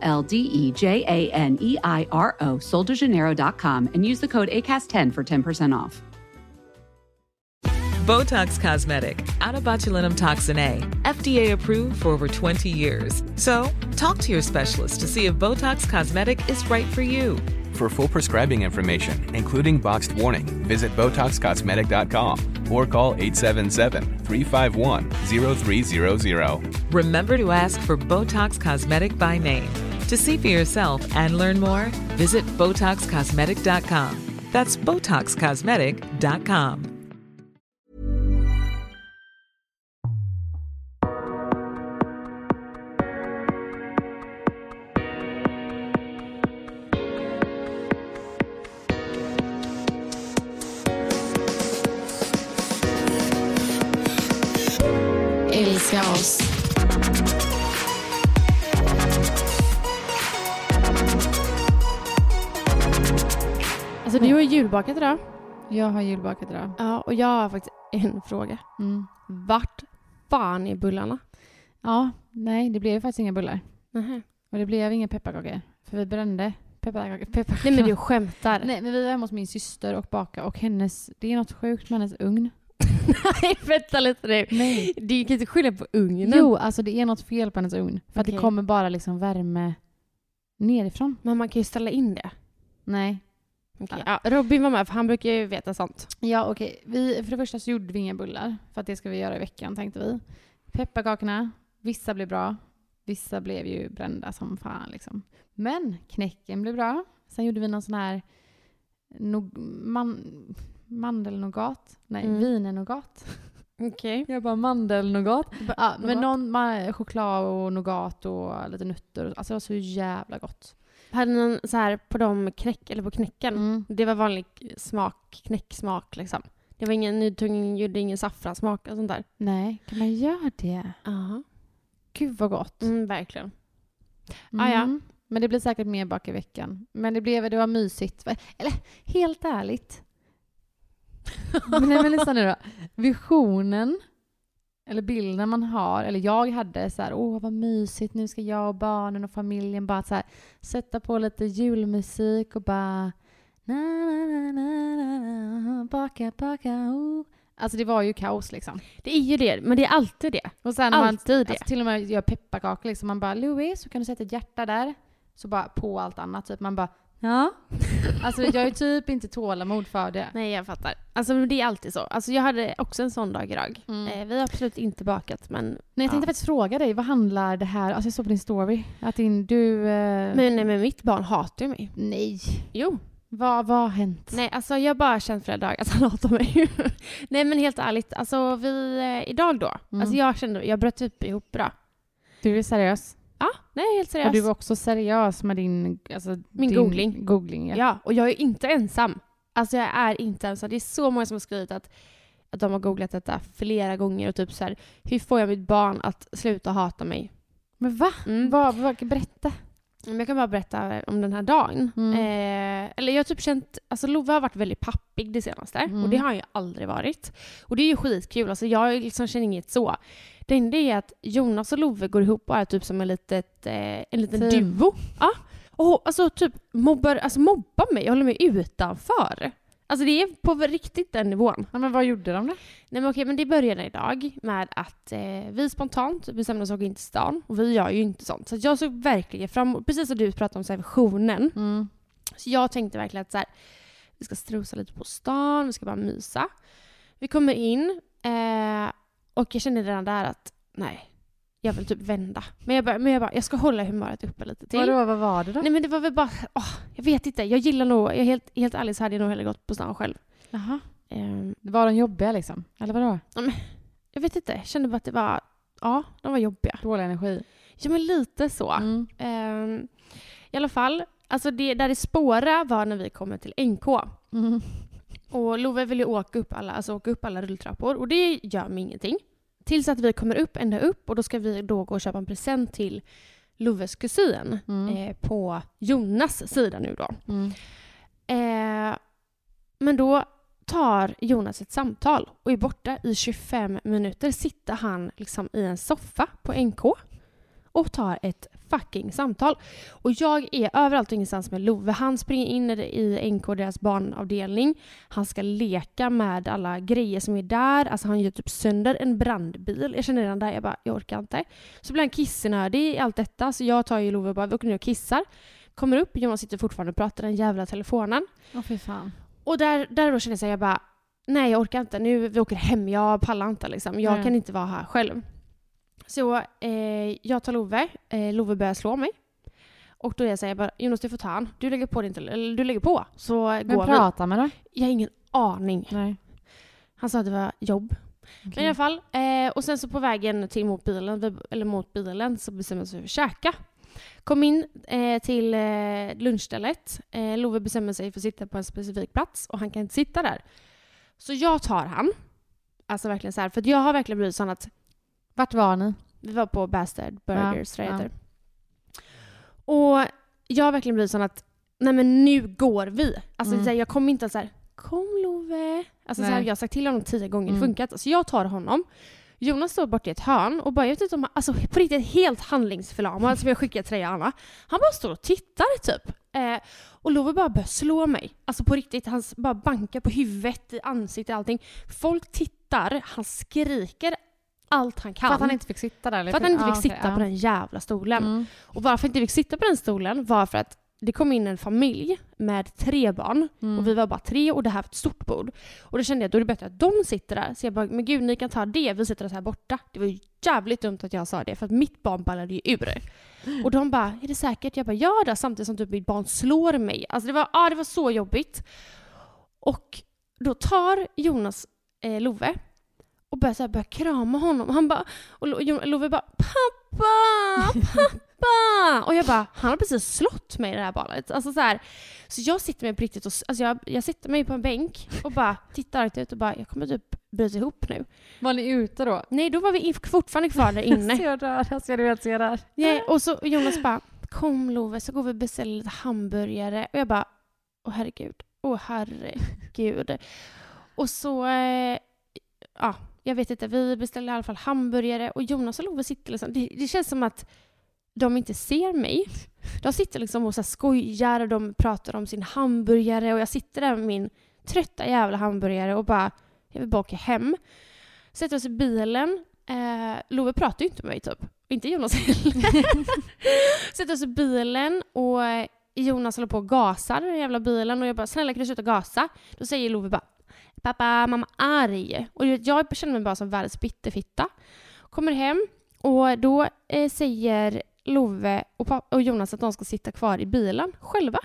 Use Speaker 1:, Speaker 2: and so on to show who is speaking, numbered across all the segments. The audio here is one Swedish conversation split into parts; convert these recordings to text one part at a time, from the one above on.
Speaker 1: L D E J A N E I R O, soldejaneiro.com, and use the code ACAST10 for 10% off.
Speaker 2: Botox Cosmetic, out of botulinum toxin A, FDA approved for over 20 years. So, talk to your specialist to see if Botox Cosmetic is right for you.
Speaker 3: For full prescribing information, including boxed warning, visit BotoxCosmetic.com or call 877-351-0300.
Speaker 2: Remember to ask for Botox Cosmetic by name. To see for yourself and learn more, visit BotoxCosmetic.com. That's BotoxCosmetic.com.
Speaker 4: älska oss.
Speaker 5: Alltså du har ju julbakat idag.
Speaker 4: Jag har julbakat idag.
Speaker 5: Ja, och jag har faktiskt en fråga.
Speaker 4: Mm.
Speaker 5: Vart fan är bullarna?
Speaker 4: Ja, nej, det blev ju faktiskt inga bullar.
Speaker 5: Nähä.
Speaker 4: Och det blev inga pepparkakor. För vi brände pepparkakor. pepparkakor.
Speaker 5: Nej men du skämtar.
Speaker 4: Nej, men vi var hemma hos min syster och bakade och hennes, det är något sjukt med hennes ugn.
Speaker 5: Nej, vänta lite nu.
Speaker 4: Nej.
Speaker 5: Du kan inte skylla på ugnen.
Speaker 4: Jo, alltså det är något fel på hennes ugn. För att det
Speaker 5: Mm. Okej.
Speaker 4: kommer bara liksom värme nerifrån.
Speaker 5: Men man kan ju ställa in det.
Speaker 4: Nej.
Speaker 5: Okej. Ja, Robin var med för han brukar ju veta sånt.
Speaker 4: Ja, okej. Vi För det första så gjorde vi inga bullar. För att det ska vi göra i veckan, tänkte vi. Pepparkakorna, vissa blev bra. Vissa blev ju brända som fan liksom. Men knäcken blev bra. Sen gjorde vi någon sån här nog, man, mandelnougat. Nej,
Speaker 5: Mm.
Speaker 4: vinenougat.
Speaker 5: Okej.
Speaker 4: Jag bara mandelnougat. Ja, men
Speaker 5: nougat.
Speaker 4: någon ma- choklad och nougat och lite nötter. Alltså det var så jävla gott.
Speaker 5: Hade någon så här på dem knäck, eller på knäcken.
Speaker 4: Mm.
Speaker 5: Det var vanlig smak, knäcksmak liksom. Det var ingen nydtungen, gjorde ingen saffransmak och sånt där.
Speaker 4: Nej, kan man göra det?
Speaker 5: Ja.
Speaker 4: Gud vad gott.
Speaker 5: Mm, verkligen.
Speaker 4: Mm.
Speaker 5: Ah, ja.
Speaker 4: Men det blir säkert mer bak i veckan. Men det, blev, det var mysigt. Eller helt ärligt. men, nej, men lyssna nu då. Visionen, eller bilden man har, eller jag hade så här, åh vad mysigt, nu ska jag och barnen och familjen bara så här, sätta på lite julmusik och bara na, na, na, na, na, na, baka, baka, oh. Alltså det var ju kaos liksom.
Speaker 5: Det är ju det, men det är alltid det.
Speaker 4: Och sen när man
Speaker 5: Alltid det.
Speaker 4: Alltså, till och med gör pepparkakor liksom. Man bara Louis, så kan du sätta ett hjärta där. Så bara på allt annat. Typ man bara ja. Alltså jag är typ inte tålamod för det.
Speaker 5: Nej, jag fattar. Alltså men det är alltid så. Alltså jag hade också en sån dag idag.
Speaker 4: Mm.
Speaker 5: Eh, vi har absolut inte bakat, men... eh,
Speaker 4: Nej, jag tänkte
Speaker 5: ja.
Speaker 4: faktiskt fråga dig, vad handlar det här, alltså jag såg på din story, att din, du... Eh,
Speaker 5: Men, nej, men mitt barn hatar ju mig.
Speaker 4: nej.
Speaker 5: Jo.
Speaker 4: Vad, vad har hänt?
Speaker 5: Nej, alltså jag har bara känt flera dagar att han hatar mig. nej, men helt ärligt. Alltså vi... Eh, idag då.
Speaker 4: Mm.
Speaker 5: Alltså jag kände... Jag bröt typ ihop då.
Speaker 4: Du är seriös.
Speaker 5: Ja, nej helt seriöst.
Speaker 4: Och du var också seriös med din... Alltså,
Speaker 5: Min
Speaker 4: din
Speaker 5: googling.
Speaker 4: googling ja.
Speaker 5: Ja, och jag är inte ensam. Alltså jag är inte ensam. Det är så många som har skrivit att, att de har googlat detta flera gånger och typ så här, hur får jag mitt barn att sluta hata mig?
Speaker 4: Men va?
Speaker 5: Mm.
Speaker 4: Vad, vad, berätta.
Speaker 5: Men Jag kan bara berätta om den här dagen.
Speaker 4: Mm.
Speaker 5: Eh, eller jag har typ känt, alltså Lova har varit väldigt pappig det senaste
Speaker 4: Mm.
Speaker 5: och det har han ju aldrig varit. Och det är ju skitkul, alltså jag liksom känner inget så. Det enda är att Jonas och Love går ihop bara typ som en, litet, eh, en liten
Speaker 4: Team.
Speaker 5: duo. Ja. Och alltså typ mobbar, alltså mobbar mig, håller mig utanför. Alltså det är på riktigt den nivån.
Speaker 4: Ja, men vad gjorde de då?
Speaker 5: Nej men okej, men det började idag med att eh, vi spontant bestämde oss att åka in till stan och vi gör ju inte sånt. Så att jag såg verkligen fram emot, precis som du pratade om så här visionen,
Speaker 4: Mm.
Speaker 5: så jag tänkte verkligen att så här, vi ska strosa lite på stan, vi ska bara mysa. Vi kommer in eh, och jag kände redan där att nej, jag vill typ vända. Men jag bara, men jag, bara jag ska hålla humöret uppe lite till.
Speaker 4: Vadå, vad var det då?
Speaker 5: Nej men det var väl bara, åh, jag vet inte. Jag gillar nog, jag är helt, helt ärlig så hade jag nog hellre gått på stan själv.
Speaker 4: Jaha.
Speaker 5: Ehm,
Speaker 4: Var de jobbiga liksom? Eller vadå?
Speaker 5: jag vet inte, jag kände bara att det var, ja, de var jobbiga.
Speaker 4: Dålig energi?
Speaker 5: Ja men lite så.
Speaker 4: Mm.
Speaker 5: Ehm, I alla fall, alltså det där det spåra var när vi kommer till NK.
Speaker 4: Mm.
Speaker 5: Och Love vill ju åka upp alla, alltså åka upp alla rulltrappor och det gör mig ingenting. Tills att vi kommer upp, ända upp och då ska vi då gå och köpa en present till Loves kusin
Speaker 4: Mm.
Speaker 5: eh, på Jonas sida nu då.
Speaker 4: Mm.
Speaker 5: Eh, men då tar Jonas ett samtal och är borta i 25 minuter. Sitter han liksom i en soffa på NK och tar ett fucking samtal. Och jag är överallt och ingenstans med Love. Han springer in i- i NK, deras barnavdelning. Han ska leka med alla grejer som är där. Alltså han gör typ sönder en brandbil. Jag känner redan där, jag bara, jag orkar inte. Så blir han kissnödig i allt detta. Så jag tar ju Love och bara, vi åker ner och kissar. Kommer upp, Jonas sitter fortfarande och pratar i den jävla telefonen.
Speaker 4: Åh fy fan.
Speaker 5: Och där, där då kände jag så här, jag bara, nej jag orkar inte, nu vi åker hem, jag pallar inte liksom. Jag
Speaker 4: Nej.
Speaker 5: kan inte vara här själv. Så eh, jag tar Love, eh, Love börjar slå mig. Och då är jag så här, jag bara, Jonas du får ta han, du lägger på din tele- eller du lägger på så
Speaker 4: Men
Speaker 5: går vi.
Speaker 4: prata med då?
Speaker 5: Jag har ingen aning.
Speaker 4: Nej.
Speaker 5: Han sa att det var jobb. Men i alla fall, eh, och sen så på vägen till mot bilen, vi- eller mot bilen så bestämmer vi oss för att käka. Kom in eh, till eh, lunchstället. Eh, Love bestämmer sig för att sitta på en specifik plats och han kan inte sitta där. Så jag tar han. Alltså verkligen så här, för att jag har verkligen blivit sån att
Speaker 4: Vart var ni?
Speaker 5: vi var på Bastard Burgers,
Speaker 4: Ja,
Speaker 5: tror jag
Speaker 4: ja.
Speaker 5: heter. Och jag har verkligen blivit sån att, nej men nu går vi. Alltså
Speaker 4: Mm.
Speaker 5: så här, jag kommer inte att så här, kom Love. Alltså så
Speaker 4: Nej.
Speaker 5: här, jag har sagt till honom tio gånger, det
Speaker 4: Mm.
Speaker 5: funkat. Så jag tar honom. Jonas står borta i ett hörn och bara, jag vet inte om han, alltså på riktigt helt handlingsförlamad som jag skickar till dig Anna. Han bara står och tittar typ. Eh, och Love bara börjar slå mig. Alltså på riktigt, han s- bara bankar på huvudet, i ansiktet, allting. Folk tittar, han skriker allt han kan.
Speaker 4: För att han inte fick sitta där? Eller?
Speaker 5: För att han inte
Speaker 4: Ja,
Speaker 5: fick
Speaker 4: okej,
Speaker 5: sitta
Speaker 4: ja.
Speaker 5: på den jävla stolen.
Speaker 4: Mm.
Speaker 5: Och varför han inte fick sitta på den stolen var för att det kom in en familj med tre barn
Speaker 4: Mm.
Speaker 5: och vi var bara tre och det här var ett stort bord. Och då kände jag att då är det bättre att de sitter där. Så jag bara, men gud ni kan ta det, vi sitter oss här borta. Det var ju jävligt dumt att jag sa det för att mitt barn ballade ju ur. Och de bara, är det säkert? Jag bara, ja det samtidigt som typ mitt barn slår mig. Alltså det var, ah, det var så jobbigt. Och då tar Jonas eh, Love och börjar, så här, börjar krama honom. Och han bara, och Lo- Jon- Love bara “Pappa! Pappa!” Och jag bara, han har precis slått mig i det här balet. Alltså så, här, så jag sitter mig på riktigt och, s- alltså jag, jag sitter mig på en bänk och bara tittar argt ut och bara, jag kommer typ bryta ihop nu.
Speaker 4: Var ni ute då?
Speaker 5: Nej, då var vi in- fortfarande kvar där inne.
Speaker 4: Ser jag där? Jag ser du vet, ser jag där?
Speaker 5: Nej, och så Jonas bara, kom Love så går vi och beställer lite hamburgare. Och jag bara, åh herregud, åh herregud. Och så, eh, ja, jag vet inte, vi beställer i alla fall hamburgare och Jonas och Love sitter liksom, det, det känns som att de inte ser mig. De sitter liksom och så här skojar och de pratar om sin hamburgare och jag sitter där med min trötta jävla hamburgare och bara, jag vill bara åka hem. Sätter oss i bilen. Eh, Love pratar ju inte med mig typ. Inte Jonas heller. Sätter oss i bilen och eh, Jonas håller på och gasar i den jävla bilen och jag bara “snälla kan du sluta gasa?” Då säger Love bara “pappa, mamma är arg”. Och du vet, jag känner mig bara som världens bitterfitta. Kommer hem och då eh, säger Love och, pa- och Jonas att de ska sitta kvar i bilen själva.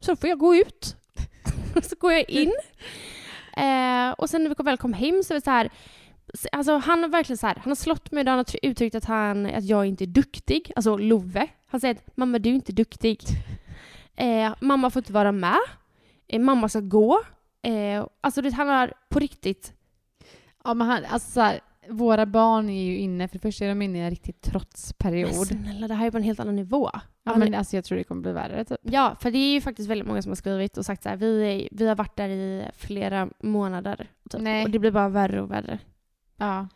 Speaker 5: Så då får jag gå ut. så går jag in. Eh, och sen när vi kom- väl kom hem så är det så här Alltså han har verkligen så här, han har slått mig idag, han har tr- uttryckt att, han, att jag inte är duktig. Alltså Love. Han säger att mamma du är inte duktig. Eh, mamma får inte vara med. Eh, mamma ska gå. Eh, alltså det, han har på riktigt,
Speaker 4: Ja, men han, alltså så här, våra barn är ju inne, för det första är de inne i en riktig
Speaker 5: men
Speaker 4: trotsperiod.
Speaker 5: snälla det här är på en helt annan nivå.
Speaker 4: Ja, men alltså jag tror det kommer bli värre typ.
Speaker 5: Ja, för det är ju faktiskt väldigt många som har skrivit och sagt så här, vi, vi har varit där i flera månader. Typ.
Speaker 4: Nej.
Speaker 5: Och det blir bara värre och värre.
Speaker 4: Ja.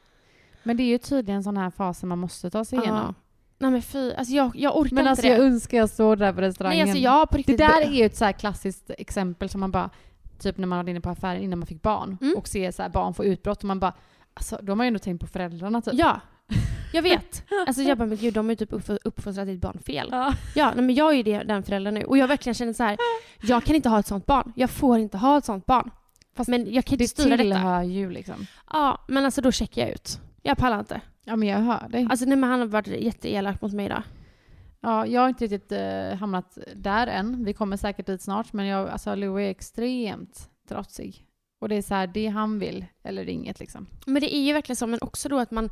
Speaker 4: Men det är ju tydligen sådana här faser man måste ta sig igenom.
Speaker 5: Ja. Nej men fy, alltså jag, jag orkar
Speaker 4: Men
Speaker 5: inte
Speaker 4: alltså
Speaker 5: det.
Speaker 4: jag önskar jag stod där på restaurangen.
Speaker 5: Nej alltså jag har på
Speaker 4: Det
Speaker 5: riktigt...
Speaker 4: där är ju ett så här klassiskt exempel som man bara, typ när man var inne på affären innan man fick barn
Speaker 5: Mm.
Speaker 4: och ser så här barn få utbrott och man bara, alltså då har man ju ändå tänkt på föräldrarna typ.
Speaker 5: Ja, jag vet. Alltså jag bara, men gud de har ju typ uppf- uppfostrat ditt barn fel.
Speaker 4: Ja.
Speaker 5: Ja, nej, men jag är ju det- den föräldern nu. Och jag verkligen känner så här, jag kan inte ha ett sånt barn. Jag får inte ha ett sånt barn.
Speaker 4: Fast
Speaker 5: men jag kan inte
Speaker 4: Det
Speaker 5: styra detta.
Speaker 4: tillhör ju liksom.
Speaker 5: Ja, men alltså då checkar jag ut. Jag pallar inte.
Speaker 4: Ja men jag hör dig.
Speaker 5: Alltså nej, men han har varit jätteelak mot mig idag.
Speaker 4: Ja, jag har inte riktigt eh, hamnat där än. Vi kommer säkert dit snart men jag, alltså Louis är extremt trotsig. Och det är så här, det han vill eller det är inget liksom.
Speaker 5: Men det är ju verkligen så, men också då att man,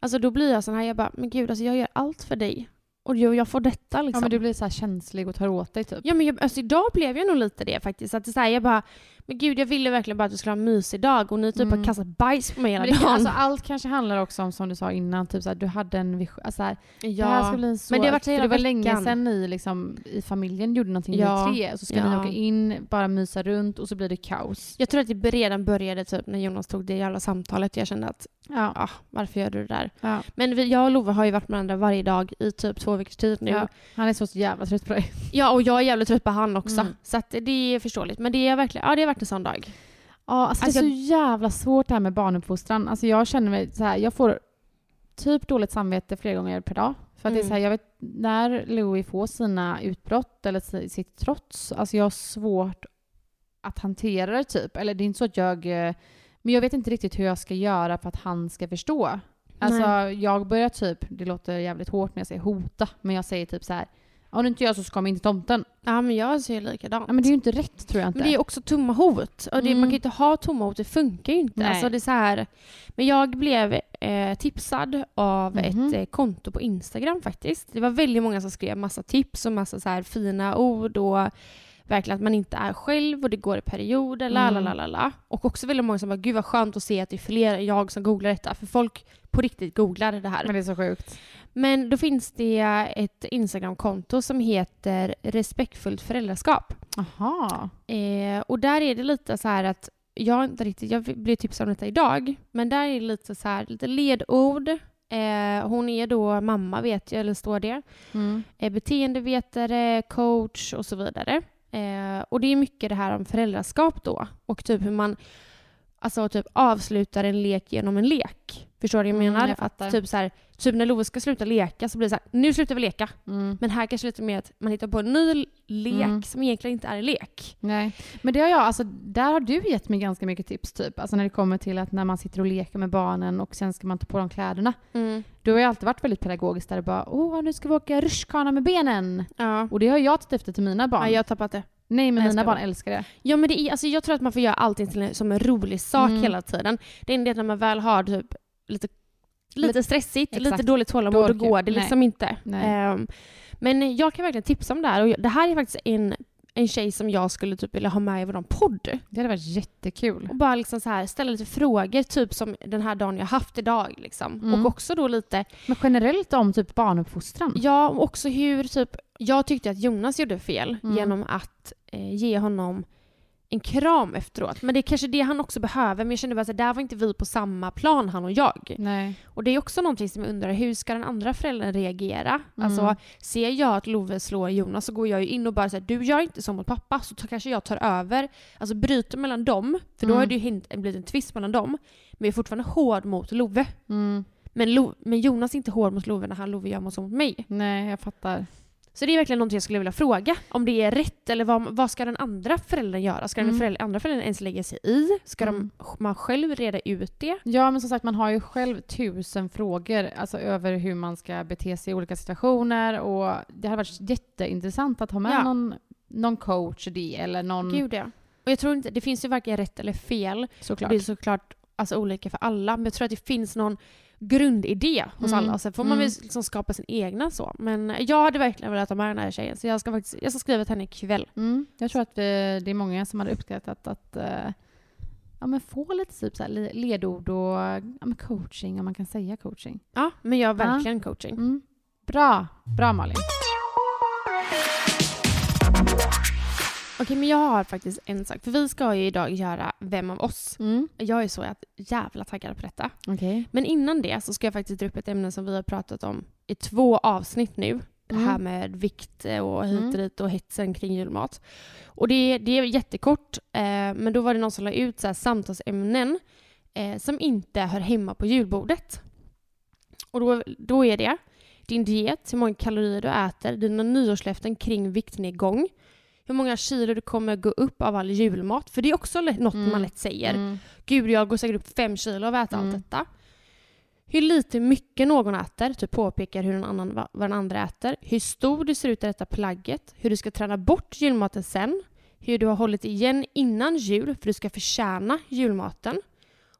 Speaker 5: alltså då blir jag sån här, jag bara, men gud alltså jag gör allt för dig. och jag, jag får detta
Speaker 4: Ja,
Speaker 5: liksom.
Speaker 4: men du blir så här känslig och tar åt dig typ.
Speaker 5: Ja men jag, alltså idag blev jag nog lite det faktiskt. Att det är så här, jag bara, men gud jag ville verkligen bara att du skulle ha en mysig dag och ni typ
Speaker 4: Mm.
Speaker 5: har kastat bajs på mig hela
Speaker 4: Men det, kan-
Speaker 5: dagen.
Speaker 4: alltså, allt kanske handlar också om, som du sa innan, typ så här, du hade en vision. Alltså, så här,
Speaker 5: ja.
Speaker 4: Det här ska bli en så...
Speaker 5: Men det har varit så
Speaker 4: för
Speaker 5: hela
Speaker 4: det var länge
Speaker 5: veckan.
Speaker 4: sedan ni liksom, i familjen gjorde någonting
Speaker 5: Ja.
Speaker 4: ni tre. Så ska ni
Speaker 5: Ja.
Speaker 4: åka in, bara mysa runt och så blir det kaos.
Speaker 5: Jag tror att det redan började typ när Jonas tog det jävla samtalet. Jag kände att,
Speaker 4: Ja.
Speaker 5: ah, varför gör du det där?
Speaker 4: Ja.
Speaker 5: Men vi, jag och Love har ju varit med varandra varje dag i typ två veckors tid nu.
Speaker 4: Ja.
Speaker 5: Ja,
Speaker 4: Han är så jävla trött på dig.
Speaker 5: och jag är jävligt trött på han också.
Speaker 4: Mm.
Speaker 5: Så att det är förståeligt. Men det, är verkligen, ja, det har varit en sån dag.
Speaker 4: Ja, alltså,
Speaker 5: Alltså,
Speaker 4: det är så jävla svårt det här med barnuppfostran. Alltså, jag känner mig så här, jag får typ dåligt samvete flera gånger per dag. För att det är
Speaker 5: Mm.
Speaker 4: så här, jag vet när Louis får sina utbrott eller si- sitt trots, alltså jag har svårt att hantera det typ. Eller det är inte så att jag, eh, men jag vet inte riktigt hur jag ska göra för att han ska förstå. Alltså jag börjar typ, det låter jävligt hårt när jag säger hota, men jag säger typ så här, om du inte gör så ska man inte tomten.
Speaker 5: Ja men jag ser ju likadant.
Speaker 4: Ja, men det är ju inte rätt tror jag inte.
Speaker 5: Men det är också tomma hot. Och det,
Speaker 4: Mm.
Speaker 5: Man kan ju inte ha tomma hot, det funkar ju inte.
Speaker 4: Nej.
Speaker 5: Alltså det är så här. Men jag blev eh, tipsad av
Speaker 4: Mhm.
Speaker 5: ett eh, konto på Instagram faktiskt. Det var väldigt många som skrev massa tips och massa så här fina ord och verkligen att man inte är själv och det går i perioder. La, la,
Speaker 4: Mm.
Speaker 5: la, la, la. Och också väldigt många som bara, gud vad skönt att se att det är fler än jag som googlar detta. För folk på riktigt googlar det här.
Speaker 4: men det är så sjukt.
Speaker 5: Men då finns det ett Instagram-konto som heter Respektfullt föräldraskap.
Speaker 4: Aha.
Speaker 5: Eh, och där är det lite så här att jag inte riktigt, jag blev tipsad om detta idag, men där är det lite så här, lite ledord. Eh, hon är då mamma vet jag, eller står det.
Speaker 4: Mm.
Speaker 5: Eh, beteendevetare, coach och så vidare. Eh, och det är mycket det här om föräldraskap då och typ hur man alltså typ avslutar en lek genom en lek. Förstår du vad jag
Speaker 4: Mm,
Speaker 5: menar?
Speaker 4: jag fattar.
Speaker 5: att typ, så här, typ när Love ska sluta leka så blir det så här, nu slutar vi leka.
Speaker 4: Mm.
Speaker 5: Men här kanske lite mer att man hittar på en ny lek
Speaker 4: Mm.
Speaker 5: som egentligen inte är en lek.
Speaker 4: Nej, men det har jag, alltså, där har du gett mig ganska mycket tips typ. Alltså när det kommer till att när man sitter och leker med barnen och sen ska man ta på dem kläderna.
Speaker 5: Mm.
Speaker 4: Du har ju alltid varit väldigt pedagogisk där du bara åh nu ska vi åka rutschkana med benen.
Speaker 5: Ja.
Speaker 4: Och det har jag tittat efter till mina barn.
Speaker 5: ja, jag har tappat det.
Speaker 4: Nej men
Speaker 5: Nej, jag
Speaker 4: mina
Speaker 5: ska
Speaker 4: barn
Speaker 5: bara-
Speaker 4: älskar det.
Speaker 5: Ja, men det är, alltså, jag tror att man får göra allting till en, som en rolig sak
Speaker 4: Mm.
Speaker 5: hela tiden. Det är en del när man väl har typ, lite, lite
Speaker 4: Lite-
Speaker 5: stressigt,
Speaker 4: exakt.
Speaker 5: lite dåligt
Speaker 4: Då
Speaker 5: tålamod, då
Speaker 4: orkar-
Speaker 5: går det
Speaker 4: nej.
Speaker 5: liksom inte.
Speaker 4: Nej.
Speaker 5: Ehm, men jag kan verkligen tipsa om det här. Och jag- det här är faktiskt en, en tjej som jag skulle typ vilja ha med i vår podd.
Speaker 4: Det hade varit jättekul.
Speaker 5: Och bara liksom så här, ställa lite frågor, typ som den här dagen jag haft idag. Liksom.
Speaker 4: Mm.
Speaker 5: Och också då lite
Speaker 4: Men generellt om typ barnuppfostran.
Speaker 5: Ja, och också hur typ... Jag tyckte att Jonas gjorde fel
Speaker 4: Mm.
Speaker 5: genom att eh, ge honom en kram efteråt. Men det är kanske det han också behöver. Men jag kände bara att där var inte vi på samma plan, han och jag.
Speaker 4: Nej.
Speaker 5: Och det är också någonting som jag undrar, hur ska den andra föräldern reagera?
Speaker 4: Mm.
Speaker 5: Alltså, ser jag att Love slår Jonas så går jag ju in och bara säger du gör inte så mot pappa, så tar- kanske jag tar över. Alltså bryter mellan dem, för då
Speaker 4: Mm.
Speaker 5: har det ju hint- blivit en tvist mellan dem. Men jag är fortfarande hård mot Love.
Speaker 4: Mm.
Speaker 5: Men, Lo- men Jonas är inte hård mot Love när han Love gör mot- så mot mig.
Speaker 4: Nej, jag fattar.
Speaker 5: Så det är verkligen någonting jag skulle vilja fråga. Om det är rätt eller vad, vad ska den andra föräldern göra? Ska
Speaker 4: Mm.
Speaker 5: den förälder, andra föräldern ens lägga sig i? Ska
Speaker 4: Mm.
Speaker 5: de, man själv reda ut det?
Speaker 4: Ja, men som sagt, man har ju själv tusen frågor alltså, över hur man ska bete sig i olika situationer. Och det hade varit jätteintressant att ha med
Speaker 5: Ja.
Speaker 4: någon, någon coach i det eller någon...
Speaker 5: Gud ja. Och jag tror inte, det finns ju varken rätt eller fel.
Speaker 4: såklart.
Speaker 5: Det är såklart alltså, olika för alla. Men jag tror att det finns någon grundidé hos
Speaker 4: Mm.
Speaker 5: alla. Och sen får man väl
Speaker 4: Mm.
Speaker 5: liksom skapa sin egna så. Men jag hade verkligen velat ha med den här tjejen. Så jag ska, faktiskt, jag ska skriva till henne ikväll.
Speaker 4: Mm, jag tror att vi, det är många som hade uppskattat att eh, ja, men få lite typ så här le- ledord och ja, men coaching, om man kan säga coaching.
Speaker 5: Ja, men jag har verkligen coaching.
Speaker 4: Mm. Bra, bra Malin.
Speaker 5: Okej, men jag har faktiskt en sak. För vi ska ju idag göra Vem av oss?
Speaker 4: Mm.
Speaker 5: Jag är så att jävla taggad på detta.
Speaker 4: Okej.
Speaker 5: Men innan det så ska jag faktiskt dra upp ett ämne som vi har pratat om i två avsnitt nu. Det här
Speaker 4: Mm.
Speaker 5: med vikt eh, och hit
Speaker 4: Mm.
Speaker 5: och dit och hetsen kring julmat. Och det, det är jättekort, eh, men då var det någon som la ut så här samtalsämnen eh, som inte hör hemma på julbordet. Och då, då är det din diet, hur många kalorier du äter, dina nyårslöften kring viktnedgång, hur många kilo du kommer gå upp av all julmat. För det är också lätt- något
Speaker 4: Mm.
Speaker 5: man lätt säger
Speaker 4: Mm.
Speaker 5: gud jag går säkert upp fem kilo av att äta
Speaker 4: Mm.
Speaker 5: allt detta. Hur lite mycket någon äter, typ påpekar hur en annan, vad vad den andra äter. Hur stor du ser ut i detta plagget. Hur du ska träna bort julmaten sen. Hur du har hållit igen innan jul för du ska förtjäna julmaten.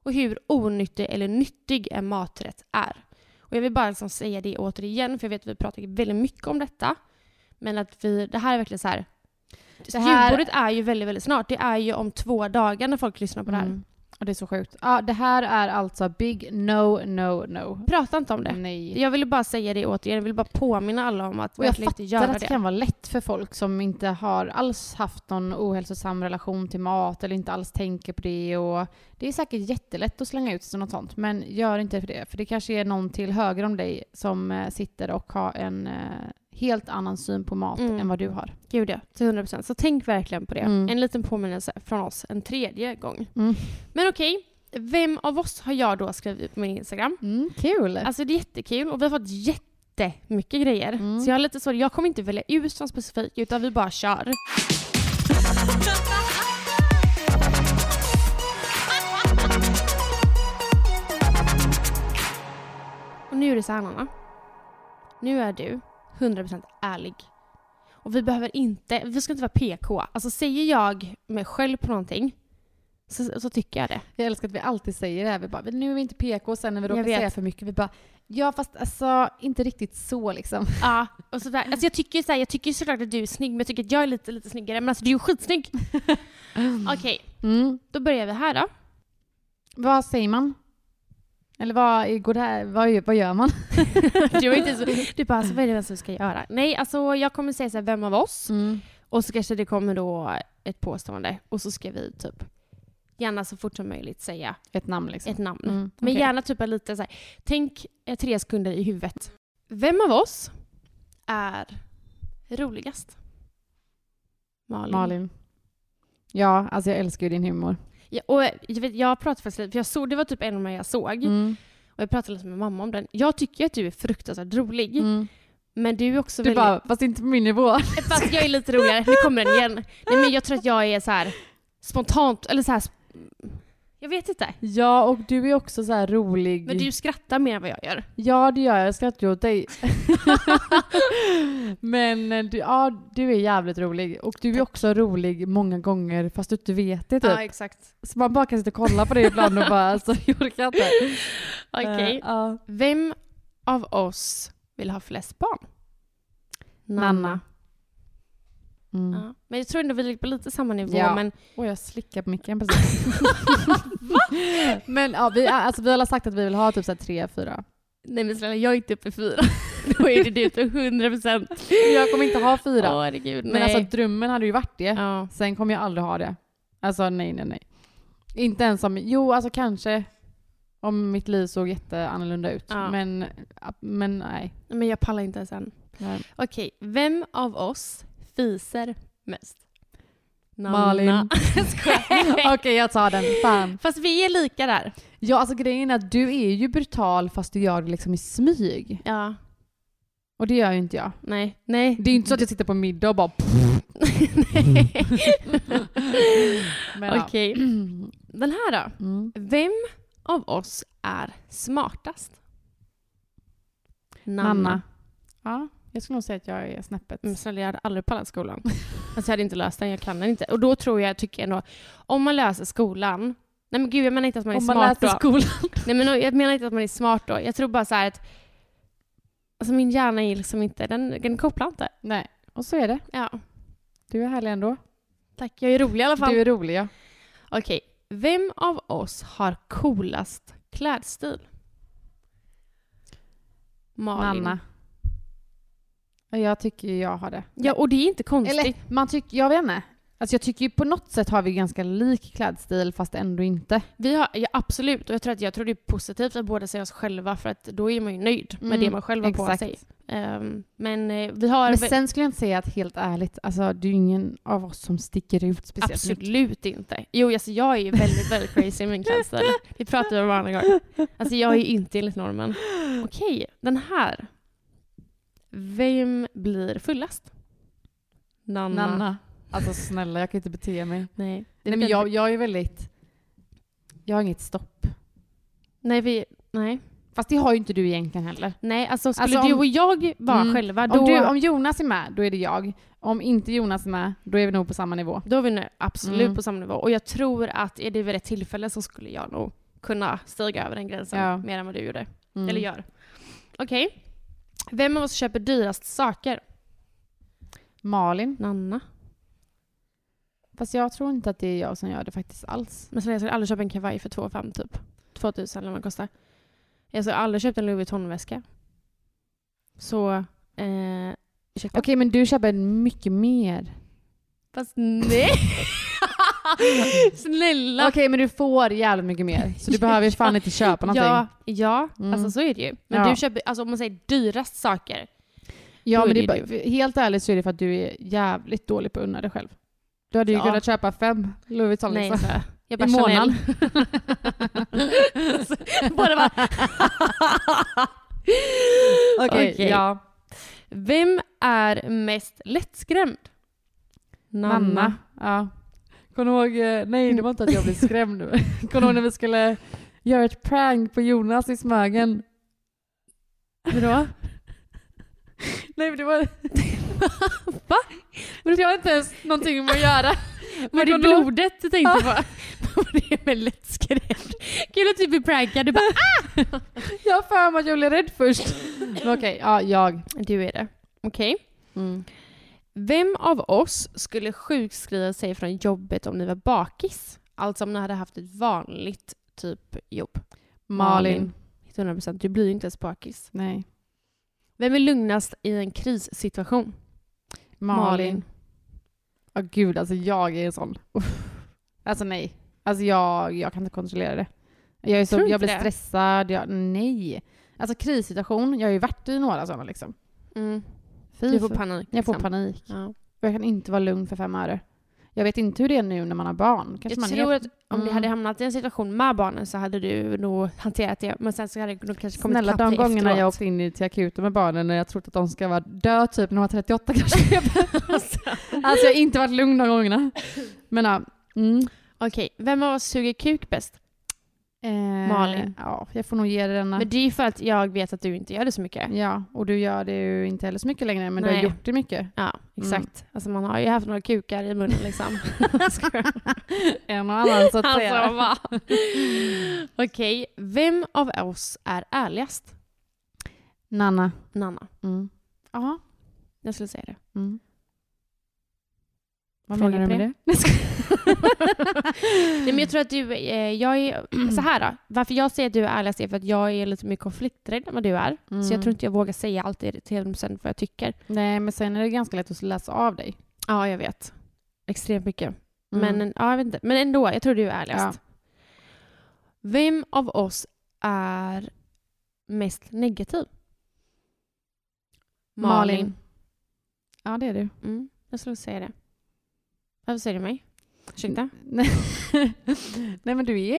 Speaker 5: Och hur onyttig eller nyttig en maträtt är. Och jag vill bara liksom säga det återigen, för jag vet att vi pratar väldigt mycket om detta. Men att vi, det här är verkligen så här.
Speaker 4: Det här-
Speaker 5: Julbordet är ju väldigt, väldigt snart. Det är ju om två dagar när folk lyssnar på det här.
Speaker 4: Mm. Och det är så sjukt. Ja, det här är alltså big no, no, no.
Speaker 5: Prata inte om det.
Speaker 4: Nej.
Speaker 5: Jag ville bara säga det återigen. Jag ville bara påminna alla om att
Speaker 4: Och jag
Speaker 5: verkligen inte
Speaker 4: fattar
Speaker 5: göra
Speaker 4: att det
Speaker 5: det.
Speaker 4: kan vara lätt för folk som inte har alls haft någon ohälsosam relation till mat eller inte alls tänker på det. Och det är säkert jättelätt att slänga ut sig något sånt, men gör inte för det. För det kanske är någon till höger om dig som eh, sitter och har en eh, helt annan syn på mat
Speaker 5: Mm.
Speaker 4: än vad du har.
Speaker 5: Gud ja, till 100 procent. Så tänk verkligen på det.
Speaker 4: Mm.
Speaker 5: En liten påminnelse från oss en tredje gång.
Speaker 4: Mm.
Speaker 5: Men okej, vem av oss har jag då skrivit ut på min Instagram?
Speaker 4: Mm, kul!
Speaker 5: Alltså det är jättekul och vi har fått jättemycket grejer.
Speaker 4: Mm.
Speaker 5: Så jag är lite så, jag kommer inte välja ut någon specifik utan vi bara kör. Och nu är det så här Anna. Nu är du 100% ärlig. Och vi behöver inte, vi ska inte vara PK. Alltså säger jag mig själv på någonting så, så tycker jag det.
Speaker 4: Jag älskar att vi alltid säger det här. Vi bara, nu är vi inte PK, sen när vi
Speaker 5: Jag
Speaker 4: råkar
Speaker 5: vet.
Speaker 4: säga för mycket, vi bara, ja fast alltså inte riktigt så liksom.
Speaker 5: Ja, och sådär. Alltså jag tycker ju såhär, jag tycker ju såklart att du är snygg, men jag tycker att jag är lite, lite snyggare. Men alltså du är ju skitsnygg! Okej,
Speaker 4: Mm.
Speaker 5: då börjar vi här då.
Speaker 4: Vad säger man? Eller vad, går det här, vad, gör- vad gör man?
Speaker 5: Du, är inte så, du bara, alltså, vad är det ens vi ska göra? Nej, alltså jag kommer säga såhär, vem av
Speaker 4: Mm.
Speaker 5: oss? Och så kanske det kommer då ett påstående. Och så ska vi typ, gärna så fort som möjligt säga
Speaker 4: Ett namn liksom.
Speaker 5: ett namn.
Speaker 4: Mm,
Speaker 5: Men
Speaker 4: okej.
Speaker 5: gärna typ en lite såhär, tänk eh, tre sekunder i huvudet. Vem av oss är roligast? Malin.
Speaker 4: Malin. Ja, alltså jag älskar ju din humor.
Speaker 5: Ja, och jag, vet, jag pratade faktiskt lite, för jag såg, det var typ en av de jag såg,
Speaker 4: Mm.
Speaker 5: och jag pratade lite med mamma om den. Jag tycker att du är fruktansvärt rolig,
Speaker 4: Mm.
Speaker 5: men du är också
Speaker 4: Du
Speaker 5: väldigt...
Speaker 4: bara, fast inte på min nivå.
Speaker 5: Fast jag är lite roligare, nu kommer den igen. Nej men jag tror att jag är så här spontant, eller så här. sp- Jag vet inte.
Speaker 4: Ja, och du är också så här rolig.
Speaker 5: Men du skrattar mer än vad jag gör.
Speaker 4: Ja, det gör jag. Jag skrattar ju åt dig. Men eh, du, ja, du är jävligt rolig. Och du är också rolig många gånger fast du inte vet det typ.
Speaker 5: exakt.
Speaker 4: Så man bara kan sitta och kolla på dig ibland och bara alltså jag orkar inte.
Speaker 5: Okej.
Speaker 4: Eh, ja.
Speaker 5: Vem av oss vill ha flest barn?
Speaker 4: Nanna. Mm.
Speaker 5: Ja. Men jag tror ändå vi ligger på lite samma nivå,
Speaker 4: Ja.
Speaker 5: men
Speaker 4: Och jag slickar på micken precis. Men ja, vi, är- alltså, vi har alla sagt att vi vill ha typ så här tre, fyra.
Speaker 5: nej men snälla jag är inte uppe i fyra. Då är det du till 100 procent.
Speaker 4: Jag kommer inte ha fyra.
Speaker 5: Ja, herregud.
Speaker 4: Men
Speaker 5: nej.
Speaker 4: alltså drömmen hade ju varit det.
Speaker 5: ja.
Speaker 4: Sen kommer jag aldrig ha det. Alltså nej, nej, nej. Inte ens om, jo alltså kanske om mitt liv såg jätteannorlunda ut.
Speaker 5: Ja.
Speaker 4: Men, men nej.
Speaker 5: Men jag pallar inte ens än.
Speaker 4: Nej.
Speaker 5: Okej, vem av oss fiser mest?
Speaker 4: Malin. Okej,
Speaker 5: Skojar.
Speaker 4: jag tar den. Fan.
Speaker 5: Fast vi är lika där.
Speaker 4: Ja, alltså grejen är att du är ju brutal fast du gör det liksom i smyg.
Speaker 5: Ja,
Speaker 4: Och det gör ju inte jag.
Speaker 5: nej. Nej.
Speaker 4: Det är ju inte så att jag sitter på middag och bara...
Speaker 5: Nej.
Speaker 4: Men, ja.
Speaker 5: Okej. Den här då.
Speaker 4: Mm.
Speaker 5: Vem av oss är smartast?
Speaker 4: Nanna. Ja, jag skulle nog säga att jag är snäppet.
Speaker 5: Men Mm, snälla, jag hade aldrig pallat skolan. Alltså jag hade inte löst den, jag kan den inte. Och då tror jag, tycker jag nog, om man löser skolan, nej men gud jag menar inte att man är
Speaker 4: Om man
Speaker 5: smart
Speaker 4: läser
Speaker 5: då.
Speaker 4: skolan.
Speaker 5: Nej men jag menar inte att man är smart då. Jag tror bara så här att alltså min hjärna är liksom inte, den, den kopplar inte.
Speaker 4: Nej, och så är det.
Speaker 5: Ja.
Speaker 4: Du är härlig ändå.
Speaker 5: Tack, jag är rolig i alla fall.
Speaker 4: Du är rolig ja.
Speaker 5: Okej, vem av oss har coolast klädstil? Malin.
Speaker 4: Nanna. Ja, Jag tycker ju jag har det.
Speaker 5: Ja, och det är inte konstigt.
Speaker 4: Eller man tycker, jag vet inte. Alltså jag tycker ju på något sätt har vi ganska lik klädstil fast ändå inte.
Speaker 5: Vi har, ja, absolut, och jag tror, att, jag tror det är positivt att båda säger oss själva för att då är man ju nöjd med
Speaker 4: Mm,
Speaker 5: det man själv har på
Speaker 4: exakt.
Speaker 5: sig. Ehm, men eh, vi har...
Speaker 4: Men
Speaker 5: väl-
Speaker 4: sen skulle jag inte säga att helt ärligt, alltså det är ju ingen av oss som sticker ut speciellt mycket.
Speaker 5: Absolut inte. Jo, alltså jag är ju väldigt, väldigt crazy i min klädstil. Vi pratade om det varje gång. Alltså jag är ju inte enligt normen. Okej, den här. Vem blir fullast? Nanna.
Speaker 4: Nanna. Alltså snälla, jag kan inte bete mig.
Speaker 5: Nej. det
Speaker 4: Nej men
Speaker 5: blir
Speaker 4: jag,
Speaker 5: inte-
Speaker 4: jag är väldigt... Jag har inget stopp.
Speaker 5: Nej, vi... Nej.
Speaker 4: Fast det har ju inte du egentligen heller.
Speaker 5: Nej, alltså skulle
Speaker 4: Alltså, om-
Speaker 5: du och jag vara
Speaker 4: Mm.
Speaker 5: själva, då...
Speaker 4: Om, du, om Jonas är med, då är det jag. Om inte Jonas är med, då är vi nog på samma nivå.
Speaker 5: Då är vi nu absolut
Speaker 4: Mm.
Speaker 5: på samma nivå. Och jag tror att är det vid rätt tillfälle så skulle jag nog kunna stiga över den gränsen
Speaker 4: Ja.
Speaker 5: mer än vad du gjorde.
Speaker 4: Mm.
Speaker 5: Eller gör. Okej. Vem av oss köper dyrast saker?
Speaker 4: Malin.
Speaker 5: Nanna.
Speaker 4: Fast jag tror inte att det är jag som gör det faktiskt alls.
Speaker 5: Men sen jag skulle aldrig köpa en kavaj för 2 500 typ. 2000 eller vad det kostar. Jag skulle aldrig köpt en Louis Vuitton-väska. Så, eh, ursäkta.
Speaker 4: Okej, men du köper mycket mer.
Speaker 5: Fast nej! Snälla!
Speaker 4: Okej, men du får jävligt mycket mer. Så du behöver ju fan inte köpa någonting.
Speaker 5: Ja, ja
Speaker 4: Mm.
Speaker 5: alltså så är det ju. Men
Speaker 4: Ja.
Speaker 5: du köper, alltså om man säger dyrast saker.
Speaker 4: Ja,
Speaker 5: Då
Speaker 4: men
Speaker 5: är
Speaker 4: det är
Speaker 5: det ju
Speaker 4: bara, helt ärligt så är det för att du är jävligt dålig på att unna dig själv. Du hade ju
Speaker 5: Ja.
Speaker 4: kunnat köpa fem Louis Vuitton
Speaker 5: Nej,
Speaker 4: liksom.
Speaker 5: så. jag
Speaker 4: I
Speaker 5: bara
Speaker 4: månaden.
Speaker 5: Chanel. Så Båda bara...
Speaker 4: Okej,
Speaker 5: ja. Vem är mest lättskrämd?
Speaker 4: Nanna. Ja. Kommer du ihåg, eh, nej det var inte att jag blev skrämd. Kommer du ihåg när vi skulle göra ett prank på Jonas i Smögen?
Speaker 5: Hur då?
Speaker 4: Nej men det var...
Speaker 5: Va?
Speaker 4: Men det har inte ens någonting med att göra.
Speaker 5: Var det
Speaker 4: kommer du ihåg-
Speaker 5: blodet du tänkte på? Var det med lättskrämd? Kul att du blir prankad. Du bara "Ah!"
Speaker 4: Jag har för mig att jag blev rädd först. Men Okej, ja jag.
Speaker 5: Du är det. Okej. Mm. Vem av oss skulle sjukskriva sig från jobbet om ni var bakis? Alltså om ni hade haft ett vanligt typ jobb.
Speaker 4: Malin.
Speaker 5: 100%. Du blir ju inte ens bakis.
Speaker 4: Nej.
Speaker 5: Vem är lugnast i en krissituation?
Speaker 4: Malin. Ja gud, alltså jag är en sån. Uff. Alltså nej. Alltså jag, jag kan inte kontrollera det. Jag, är så,
Speaker 5: Tror du
Speaker 4: jag
Speaker 5: inte
Speaker 4: blir
Speaker 5: det?
Speaker 4: stressad, jag, nej. Alltså krissituation, jag har ju varit i några sådana liksom.
Speaker 5: Mm.
Speaker 4: Fy
Speaker 5: Du får
Speaker 4: för-
Speaker 5: panik.
Speaker 4: Jag får
Speaker 5: liksom.
Speaker 4: panik.
Speaker 5: Ja.
Speaker 4: Jag kan inte vara lugn för fem öre. Jag vet inte hur det är nu när man har barn. Kanske
Speaker 5: Jag
Speaker 4: man
Speaker 5: tror
Speaker 4: är...
Speaker 5: att om
Speaker 4: Mm.
Speaker 5: ni hade hamnat i en situation med barnen så hade du nog hanterat det. Men sen så hade du nog kanske kommit
Speaker 4: Snälla,
Speaker 5: ikapp
Speaker 4: de
Speaker 5: det
Speaker 4: gångerna
Speaker 5: efteråt.
Speaker 4: jag åkte in i- till akuten med barnen när jag trott att de ska vara dö typ när de var 38 kanske. alltså jag har inte varit lugn de gångerna. Men ja. Mm.
Speaker 5: Okej, vem av oss suger kuk bäst?
Speaker 4: Eh,
Speaker 5: Malin.
Speaker 4: Ja, jag får nog ge dig denna.
Speaker 5: Men det är ju för att jag vet att du inte gör det så mycket.
Speaker 4: Ja, och du gör det ju inte heller så mycket längre, men du
Speaker 5: Nej.
Speaker 4: har gjort det mycket.
Speaker 5: Ja, exakt. Alltså man har ju haft några kukar i munnen liksom.
Speaker 4: en och annan så att
Speaker 5: alltså,
Speaker 4: säga.
Speaker 5: va? Okej, vem av oss är ärligast?
Speaker 4: Nanna.
Speaker 5: Nanna.
Speaker 4: Mm. Ja.
Speaker 5: Jag skulle säga det.
Speaker 4: Mm. Vad
Speaker 5: Fråga
Speaker 4: menar du
Speaker 5: på
Speaker 4: med det?
Speaker 5: Nej, men jag tror att du, eh, jag är, så här då. Varför jag säger att du är ärligast är för att jag är lite mer konflikträdd än vad du är. Så jag
Speaker 4: Mm.
Speaker 5: tror inte jag vågar säga allt i till dem sen vad jag tycker.
Speaker 4: Nej, men sen är det ganska lätt att läsa av dig.
Speaker 5: Ja, jag vet. Extremt mycket.
Speaker 4: Mm.
Speaker 5: Men, ja, jag vet inte. men ändå, jag tror du är ärligast. Vem av oss är mest negativ?
Speaker 4: Malin. Ja, det är du.
Speaker 5: Mm, jag skulle säga det. Varför säger du mig? Ursäkta?
Speaker 4: Nej. Nej, men du är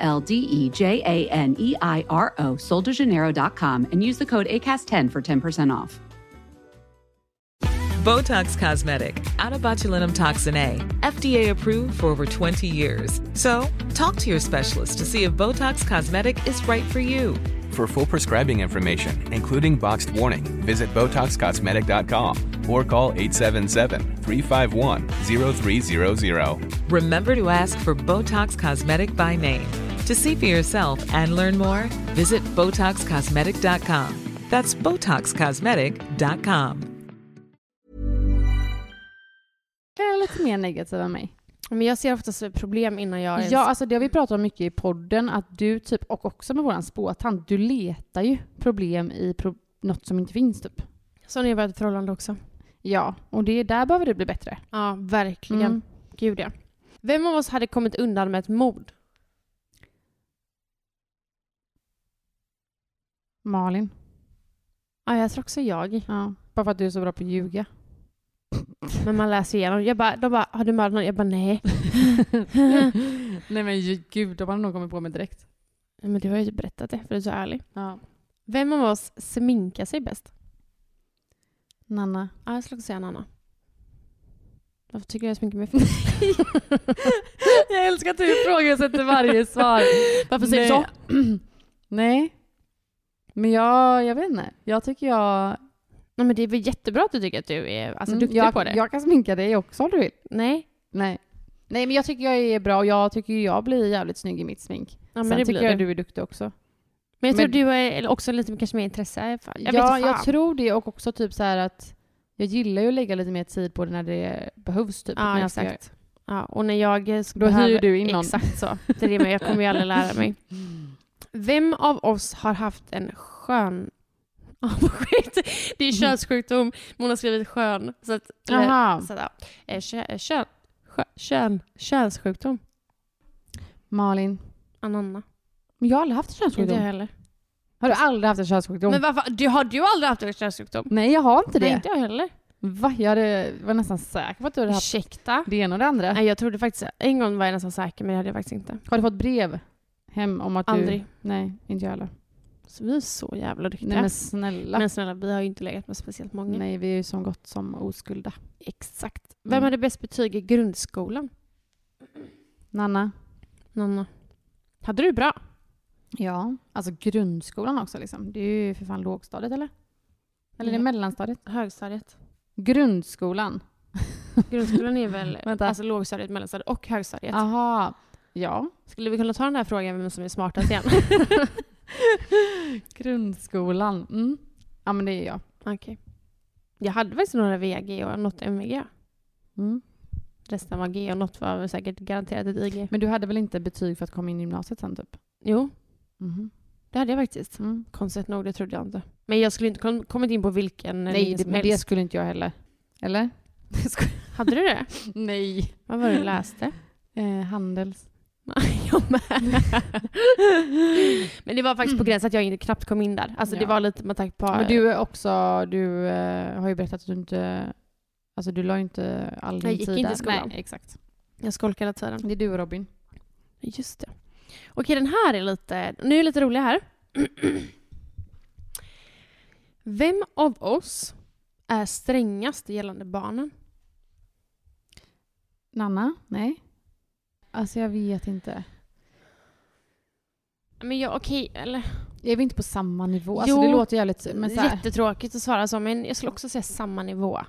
Speaker 1: L D E J A N E I R O, soldejaneiro.com, and use the code ACAST10 for 10% off.
Speaker 2: Botox Cosmetic, out of botulinum toxin A, FDA approved for over 20 years. So, talk to your specialist to see if Botox Cosmetic is right for you.
Speaker 3: For full prescribing information, including boxed warning, visit BotoxCosmetic.com or call 877-351-0300.
Speaker 2: Remember to ask for Botox Cosmetic by name. To see for yourself and learn more, visit BotoxCosmetic.com. That's BotoxCosmetic.com.
Speaker 4: är lite mer negativ än mig.
Speaker 5: Men jag ser oftast problem innan jag ens...
Speaker 4: Ja, alltså det har vi pratat om mycket i podden, att du typ, och också med våran spåtant, du letar ju problem i pro- något som inte finns typ.
Speaker 5: Så när jag var i ett förhållande också.
Speaker 4: Ja, och det är där behöver du bli bättre.
Speaker 5: Ja, verkligen.
Speaker 4: Mm.
Speaker 5: Gud ja. Vem av oss hade kommit undan med ett mord?
Speaker 4: Malin.
Speaker 5: Ja, jag tror också jag.
Speaker 4: Ja. Bara för att du är så bra på att ljuga.
Speaker 5: Men man läser igenom. Jag bara, de bara, har du mördat någon? Jag bara, nej.
Speaker 4: Nej men ju- gud, de hade nog kommit på mig direkt.
Speaker 5: Ja, Men du har ju typ berättat det, för du är så ärlig.
Speaker 4: Ja.
Speaker 5: Vem av oss sminkar sig bäst?
Speaker 4: Nanna.
Speaker 5: Ja, jag skulle också säga Nanna. Varför tycker du jag sminkar mig för
Speaker 4: jag älskar att du ifrågasätter varje svar.
Speaker 5: Varför säger du så?
Speaker 4: Nej. Men jag, jag vet inte. Jag tycker jag...
Speaker 5: Nej, men det är väl jättebra att du tycker att du är alltså,
Speaker 4: Mm,
Speaker 5: duktig
Speaker 4: jag,
Speaker 5: på det?
Speaker 4: Jag kan sminka dig också om du vill.
Speaker 5: Nej.
Speaker 4: Nej. Nej, men jag tycker jag är bra och jag tycker ju jag blir jävligt snygg i mitt smink.
Speaker 5: Ja, men
Speaker 4: Sen
Speaker 5: det
Speaker 4: tycker
Speaker 5: blir
Speaker 4: jag
Speaker 5: jag,
Speaker 4: du är duktig också.
Speaker 5: Men jag tror
Speaker 4: men-
Speaker 5: du är eller också lite kanske mer intresse. Fan, Jag
Speaker 4: ja,
Speaker 5: vet inte
Speaker 4: jag
Speaker 5: fan.
Speaker 4: tror det och också typ så här att jag gillar ju att lägga lite mer tid på det när det behövs. Typ, när
Speaker 5: Ja,
Speaker 4: jag ska-
Speaker 5: exakt. Ja, och när jag eh,
Speaker 4: Då hyr
Speaker 5: behöver-
Speaker 4: du in någon.
Speaker 5: Exakt så. Det är det, men jag kommer ju aldrig lära mig. Vem av oss har haft en skön avundsjukt? Det är könssjukdom, men hon har skrivit skön. Så att, eller-
Speaker 4: Mm. Jaha.
Speaker 5: så att, ja. Eh, kö- eh, kön, kö, kön, könssjukdom.
Speaker 4: Malin.
Speaker 5: Ananna.
Speaker 4: Men jag har aldrig haft en
Speaker 5: Inte jag
Speaker 4: könssjukdom.
Speaker 5: heller.
Speaker 4: Har du aldrig haft en könssjukdom?
Speaker 5: Men varför, du, har du aldrig haft en könssjukdom?
Speaker 4: Nej, jag har inte det.
Speaker 5: Nej, inte jag heller.
Speaker 4: Va? Jag hade, var nästan säker på att du hade haft
Speaker 5: Ursäkta.
Speaker 4: det ena och det andra.
Speaker 5: Nej, jag trodde faktiskt, en gång var jag nästan säker, men det hade jag faktiskt inte.
Speaker 4: Har du fått brev hem om att du...
Speaker 5: Aldrig.
Speaker 4: Nej, inte jag heller.
Speaker 5: Så vi är så jävla duktiga.
Speaker 4: Nej, men
Speaker 5: men,
Speaker 4: snälla.
Speaker 5: snälla, vi har ju inte legat med speciellt många.
Speaker 4: Nej, vi är ju som gott som oskulda.
Speaker 5: Exakt. Vem
Speaker 4: Mm.
Speaker 5: hade bäst betyg i grundskolan?
Speaker 4: Nanna?
Speaker 5: Nanna. Hade du bra?
Speaker 4: Ja. Alltså grundskolan också liksom. Det är ju för fan lågstadiet eller? Eller är det
Speaker 5: Ja.
Speaker 4: mellanstadiet?
Speaker 5: Högstadiet.
Speaker 4: Grundskolan?
Speaker 5: Grundskolan är väl
Speaker 4: Vänta.
Speaker 5: alltså, lågstadiet, mellanstadiet och högstadiet.
Speaker 4: Aha. Ja.
Speaker 5: Skulle vi kunna ta den här frågan vem som är smartast igen?
Speaker 4: Grundskolan. Mm. Ja, men det är jag.
Speaker 5: Okej. Jag hade faktiskt några VG och något MVG.
Speaker 4: Mm.
Speaker 5: Resten var G och något var säkert garanterat ett IG.
Speaker 4: Men du hade väl inte betyg för att komma in i gymnasiet sen typ?
Speaker 5: Jo,
Speaker 4: Mhm.
Speaker 5: det hade jag faktiskt.
Speaker 4: Mm.
Speaker 5: Konstigt nog, det trodde jag inte. Men jag skulle inte kom, kommit in på vilken
Speaker 4: Nej,
Speaker 5: linje
Speaker 4: det,
Speaker 5: som
Speaker 4: men det
Speaker 5: helst.
Speaker 4: skulle inte jag heller. Eller?
Speaker 5: Hade du det?
Speaker 4: Nej.
Speaker 5: Vad var det du läste?
Speaker 4: Eh, handels.
Speaker 5: jag med. Men det var faktiskt på gränsen att jag inte knappt kom in där. Alltså det
Speaker 4: Mm. Ja.
Speaker 5: var lite med tanke på...
Speaker 4: Men du är också, du eh, har ju berättat att du inte, alltså du la ju inte all din
Speaker 5: Jag gick
Speaker 4: tid
Speaker 5: inte
Speaker 4: där.
Speaker 5: i skolan.
Speaker 4: Nej, exakt.
Speaker 5: Jag skolkade hela tiden.
Speaker 4: Det är du och Robin.
Speaker 5: Just det. Okej, den här är lite... Nu är det lite rolig här. Vem av oss är strängast gällande barnen?
Speaker 4: Nanna? Nej. Alltså jag vet inte.
Speaker 5: Men jag, okej, eller...
Speaker 4: Jag är väl inte på samma nivå? Alltså
Speaker 5: Jo.
Speaker 4: det låter jävligt, men så här,
Speaker 5: Jättetråkigt att svara så, men jag skulle också säga samma nivå.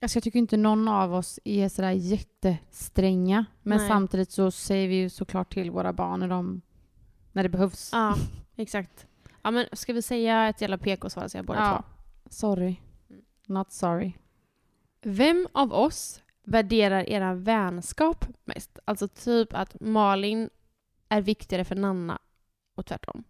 Speaker 4: alltså jag tycker inte någon av oss är sådär jättestränga. Men
Speaker 5: Nej.
Speaker 4: samtidigt så säger vi ju såklart till våra barn när, de, när det behövs.
Speaker 5: Ja, exakt. Ja, men ska vi säga ett jävla PK så säger jag båda två.
Speaker 4: Ja. Sorry.
Speaker 5: Mm.
Speaker 4: Not sorry.
Speaker 5: Vem av oss värderar era vänskap mest? Alltså typ att Malin är viktigare för Nanna och tvärtom.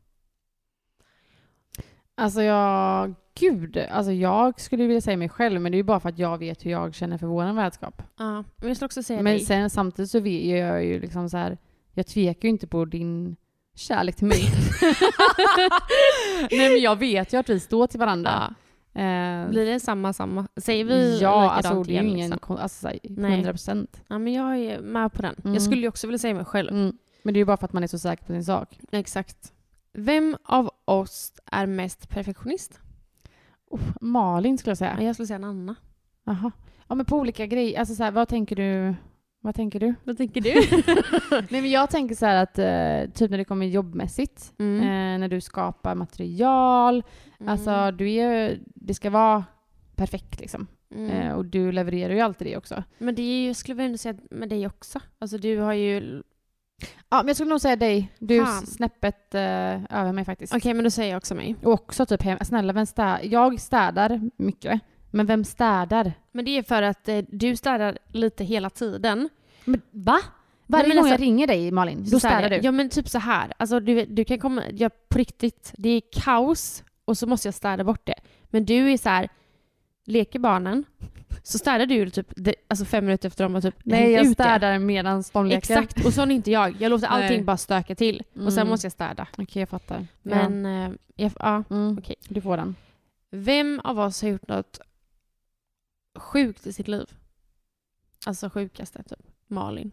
Speaker 4: Alltså jag, gud, alltså jag skulle vilja säga mig själv men det är ju bara för att jag vet hur jag känner för våran vänskap.
Speaker 5: Ja, men jag skulle också säga
Speaker 4: Men
Speaker 5: dig.
Speaker 4: sen samtidigt så vet jag, jag är ju liksom så här, jag tvekar ju inte på din kärlek till mig. Nej men jag vet ju att vi står till varandra.
Speaker 5: Ja.
Speaker 4: Eh,
Speaker 5: Blir det samma, samma? Säger vi
Speaker 4: ja,
Speaker 5: likadant
Speaker 4: alltså det är ju
Speaker 5: igen,
Speaker 4: ingen,
Speaker 5: liksom?
Speaker 4: kon- alltså så här,
Speaker 5: Nej.
Speaker 4: 100 procent.
Speaker 5: Ja, men jag är med på den.
Speaker 4: Mm.
Speaker 5: Jag skulle ju också vilja säga mig själv.
Speaker 4: Mm. Men det är ju bara för att man är så säker på sin sak.
Speaker 5: Exakt. Vem av oss är mest perfektionist?
Speaker 4: Malin skulle jag
Speaker 5: Ja.
Speaker 4: säga.
Speaker 5: Jag skulle säga Nanna.
Speaker 4: Jaha. Ja men på olika grejer, alltså så här, vad tänker du? Vad tänker du?
Speaker 5: Vad tänker du?
Speaker 4: Nej men jag tänker så här att eh, typ när det kommer jobbmässigt,
Speaker 5: Mm.
Speaker 4: eh, när du skapar material, alltså du är, det ska vara perfekt liksom.
Speaker 5: Mm.
Speaker 4: Eh, och du levererar ju alltid det också.
Speaker 5: Men det är ju, jag skulle väl ändå säga med dig också. Alltså du har ju...
Speaker 4: Ja men jag skulle nog säga dig, du är
Speaker 5: Fan.
Speaker 4: snäppet eh, över mig faktiskt.
Speaker 5: Okej, men då säger jag också mig.
Speaker 4: Och också typ, hem, snälla vem städar? Jag städar mycket, men vem städar?
Speaker 5: Men det är för att eh, du städar lite hela tiden.
Speaker 4: Men, va? Varje
Speaker 5: Nej, men
Speaker 4: gång jag
Speaker 5: alltså-
Speaker 4: ringer dig Malin, då
Speaker 5: Så här
Speaker 4: städar
Speaker 5: är-
Speaker 4: du.
Speaker 5: Ja men typ så här. Alltså du, vet, du kan komma, ja, på riktigt, det är kaos och så måste jag städa bort det. Men du är så här, leker barnen, så städar du typ de- alltså fem minuter efter dem och typ
Speaker 4: Nej
Speaker 5: hängt
Speaker 4: jag
Speaker 5: ut det.
Speaker 4: städar medan de leker.
Speaker 5: Exakt, och sån är inte jag. Jag låter allting
Speaker 4: Nej.
Speaker 5: bara stöka till och sen
Speaker 4: Mm.
Speaker 5: måste jag städa.
Speaker 4: Okej jag fattar. Men,
Speaker 5: Men eh, jag, ja.
Speaker 4: ja. mm,
Speaker 5: okej.
Speaker 4: Du får den.
Speaker 5: Vem av oss har gjort något sjukt i sitt liv? Alltså sjukaste, typ. Malin.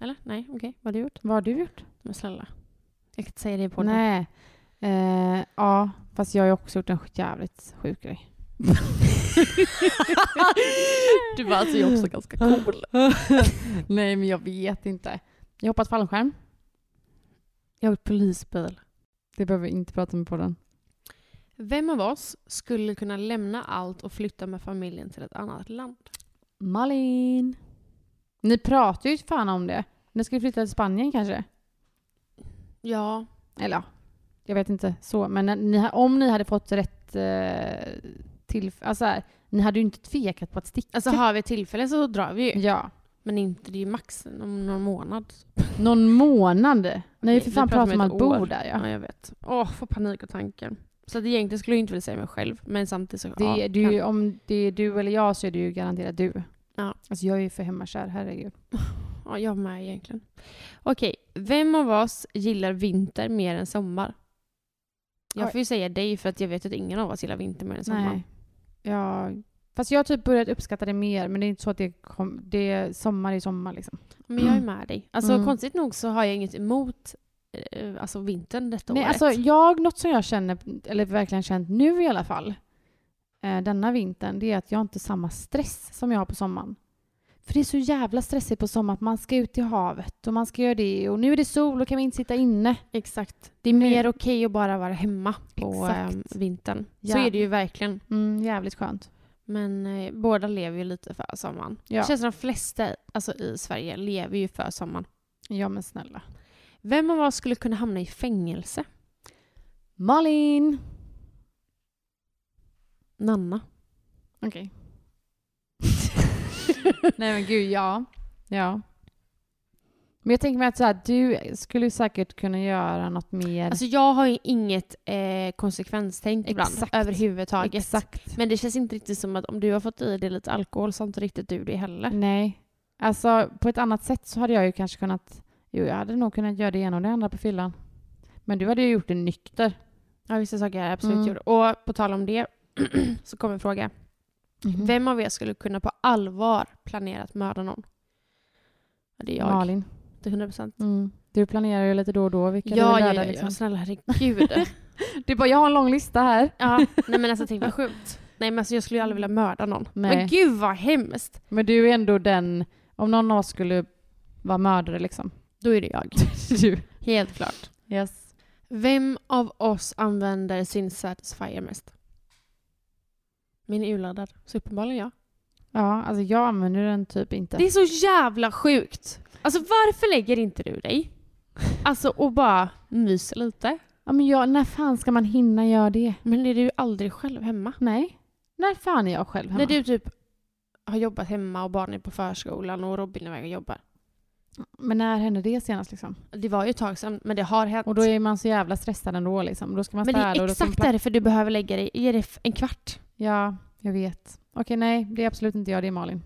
Speaker 5: Eller? Nej, okej. Vad har du gjort?
Speaker 4: Vad har du gjort?
Speaker 5: Men snälla. Jag kan inte säga det på podden.
Speaker 4: Nej. Eh, ja, fast jag har ju också gjort en jävligt sjuk grej.
Speaker 5: Du var alltså jag också ganska cool.
Speaker 4: Nej, men jag vet inte. Jag har hoppat fallskärm.
Speaker 5: Jag har gjort polisbil.
Speaker 4: Det behöver vi inte prata om på den.
Speaker 5: Vem av oss skulle kunna lämna allt och flytta med familjen till ett annat land?
Speaker 4: Malin! Ni pratar ju fan om det. Ni skulle flytta till Spanien kanske?
Speaker 5: Ja,
Speaker 4: Eller ja, jag vet inte så. Men när ni, om ni hade fått rätt eh, till... Alltså här, ni hade ju inte tvekat på att sticka.
Speaker 5: alltså har vi tillfälle så drar vi ju.
Speaker 4: Typ- ja.
Speaker 5: Men inte, det är ju max om någon månad.
Speaker 4: Någon månad? Nej,
Speaker 5: Okej,
Speaker 4: för
Speaker 5: nu
Speaker 4: fan
Speaker 5: pratar
Speaker 4: pratar
Speaker 5: vi
Speaker 4: man
Speaker 5: ett
Speaker 4: att bo
Speaker 5: år.
Speaker 4: där ja.
Speaker 5: Ja, jag vet. Åh, får panik av tanken. Så att egentligen skulle jag inte vilja säga mig själv, men samtidigt så...
Speaker 4: Det,
Speaker 5: ja,
Speaker 4: är du,
Speaker 5: kan-
Speaker 4: om det är du eller jag så är det ju garanterat du.
Speaker 5: Ja.
Speaker 4: Alltså jag är ju för hemmakär, herregud.
Speaker 5: ja, jag med egentligen. Okej, vem av oss gillar vinter mer än sommar?
Speaker 4: Oj.
Speaker 5: Jag får ju säga dig för att jag vet att ingen av oss gillar vinter mer än sommar.
Speaker 4: Nej. Jag, fast jag har typ börjat uppskatta det mer, men det är inte så att det, kom, det är sommar i sommar liksom.
Speaker 5: Men jag är med dig. Alltså
Speaker 4: Mm.
Speaker 5: konstigt nog så har jag inget emot eh, alltså, vintern detta
Speaker 4: Nej,
Speaker 5: året.
Speaker 4: alltså jag, något som jag känner, eller verkligen känt nu i alla fall, eh, denna vintern, det är att jag inte har samma stress som jag har på sommaren. För det är så jävla stressigt på sommaren att man ska ut i havet och man ska göra det och nu är det sol och kan vi inte sitta inne.
Speaker 5: Exakt. Det är mer okej att bara vara hemma på
Speaker 4: Exakt.
Speaker 5: eh, vintern.
Speaker 4: Ja.
Speaker 5: Så är det ju verkligen.
Speaker 4: Mm, jävligt skönt.
Speaker 5: Men eh, båda lever ju lite för sommaren.
Speaker 4: Ja.
Speaker 5: Det känns som de flesta alltså, i Sverige lever ju för sommaren.
Speaker 4: Ja men snälla.
Speaker 5: Vem av oss skulle kunna hamna i fängelse?
Speaker 4: Malin!
Speaker 5: Nanna.
Speaker 4: Okej. Nej men gud, ja. Ja. Men jag tänker mig att så här, du skulle ju säkert kunna göra något mer.
Speaker 5: Alltså jag har ju inget eh, konsekvenstänk ibland
Speaker 4: Exakt.
Speaker 5: överhuvudtaget.
Speaker 4: Exakt.
Speaker 5: Men det känns inte riktigt som att om du har fått i dig lite alkohol så har inte riktigt du det heller.
Speaker 4: Nej. Alltså på ett annat sätt så hade jag ju kanske kunnat... Jo, jag hade nog kunnat göra det ena och det andra på fyllan. Men du hade ju gjort det nykter.
Speaker 5: Ja, vissa saker jag absolut
Speaker 4: Mm.
Speaker 5: gjorde. Och på tal om det så kommer en fråga. Vem av er skulle kunna på allvar planera att mörda någon? Ja, det är jag.
Speaker 4: Malin.
Speaker 5: Till 100 procent.
Speaker 4: Mm. Du planerar ju lite då och då vilka du
Speaker 5: Ja,
Speaker 4: vill
Speaker 5: ja,
Speaker 4: döda.
Speaker 5: ja, ja,
Speaker 4: liksom.
Speaker 5: snälla herregud.
Speaker 4: Du bara, jag har en lång lista här.
Speaker 5: ja, nej men alltså tänk vad sjukt. Nej men alltså jag skulle ju aldrig vilja mörda någon.
Speaker 4: Nej.
Speaker 5: Men gud vad hemskt.
Speaker 4: Men du är ändå den... Om någon av oss skulle vara mördare liksom.
Speaker 5: Då är det jag.
Speaker 4: du.
Speaker 5: Helt klart.
Speaker 4: Yes.
Speaker 5: Vem av oss använder sin Satisfyer mest? Min är urladdad, så uppenbarligen jag.
Speaker 4: Ja, alltså jag använder den typ inte.
Speaker 5: Det är så jävla sjukt. Alltså varför lägger inte du dig? Alltså och bara myser lite.
Speaker 4: Ja, men jag, när fan ska man hinna göra det?
Speaker 5: Men är du aldrig själv hemma?
Speaker 4: Nej. När fan är jag själv hemma?
Speaker 5: När du typ har jobbat hemma och barnen är på förskolan och Robin är iväg och jobbar.
Speaker 4: Men när hände det senast liksom?
Speaker 5: Det var ju ett tag sedan, men det har hänt.
Speaker 4: Och då är man så jävla stressad ändå liksom. Då ska man
Speaker 5: men det
Speaker 4: städa
Speaker 5: är
Speaker 4: och då ska man
Speaker 5: exakt
Speaker 4: pla-
Speaker 5: därför du behöver lägga dig. Ge dig f- en kvart.
Speaker 4: Ja, jag vet. Okej, nej. Det är absolut inte jag. Det är Malin.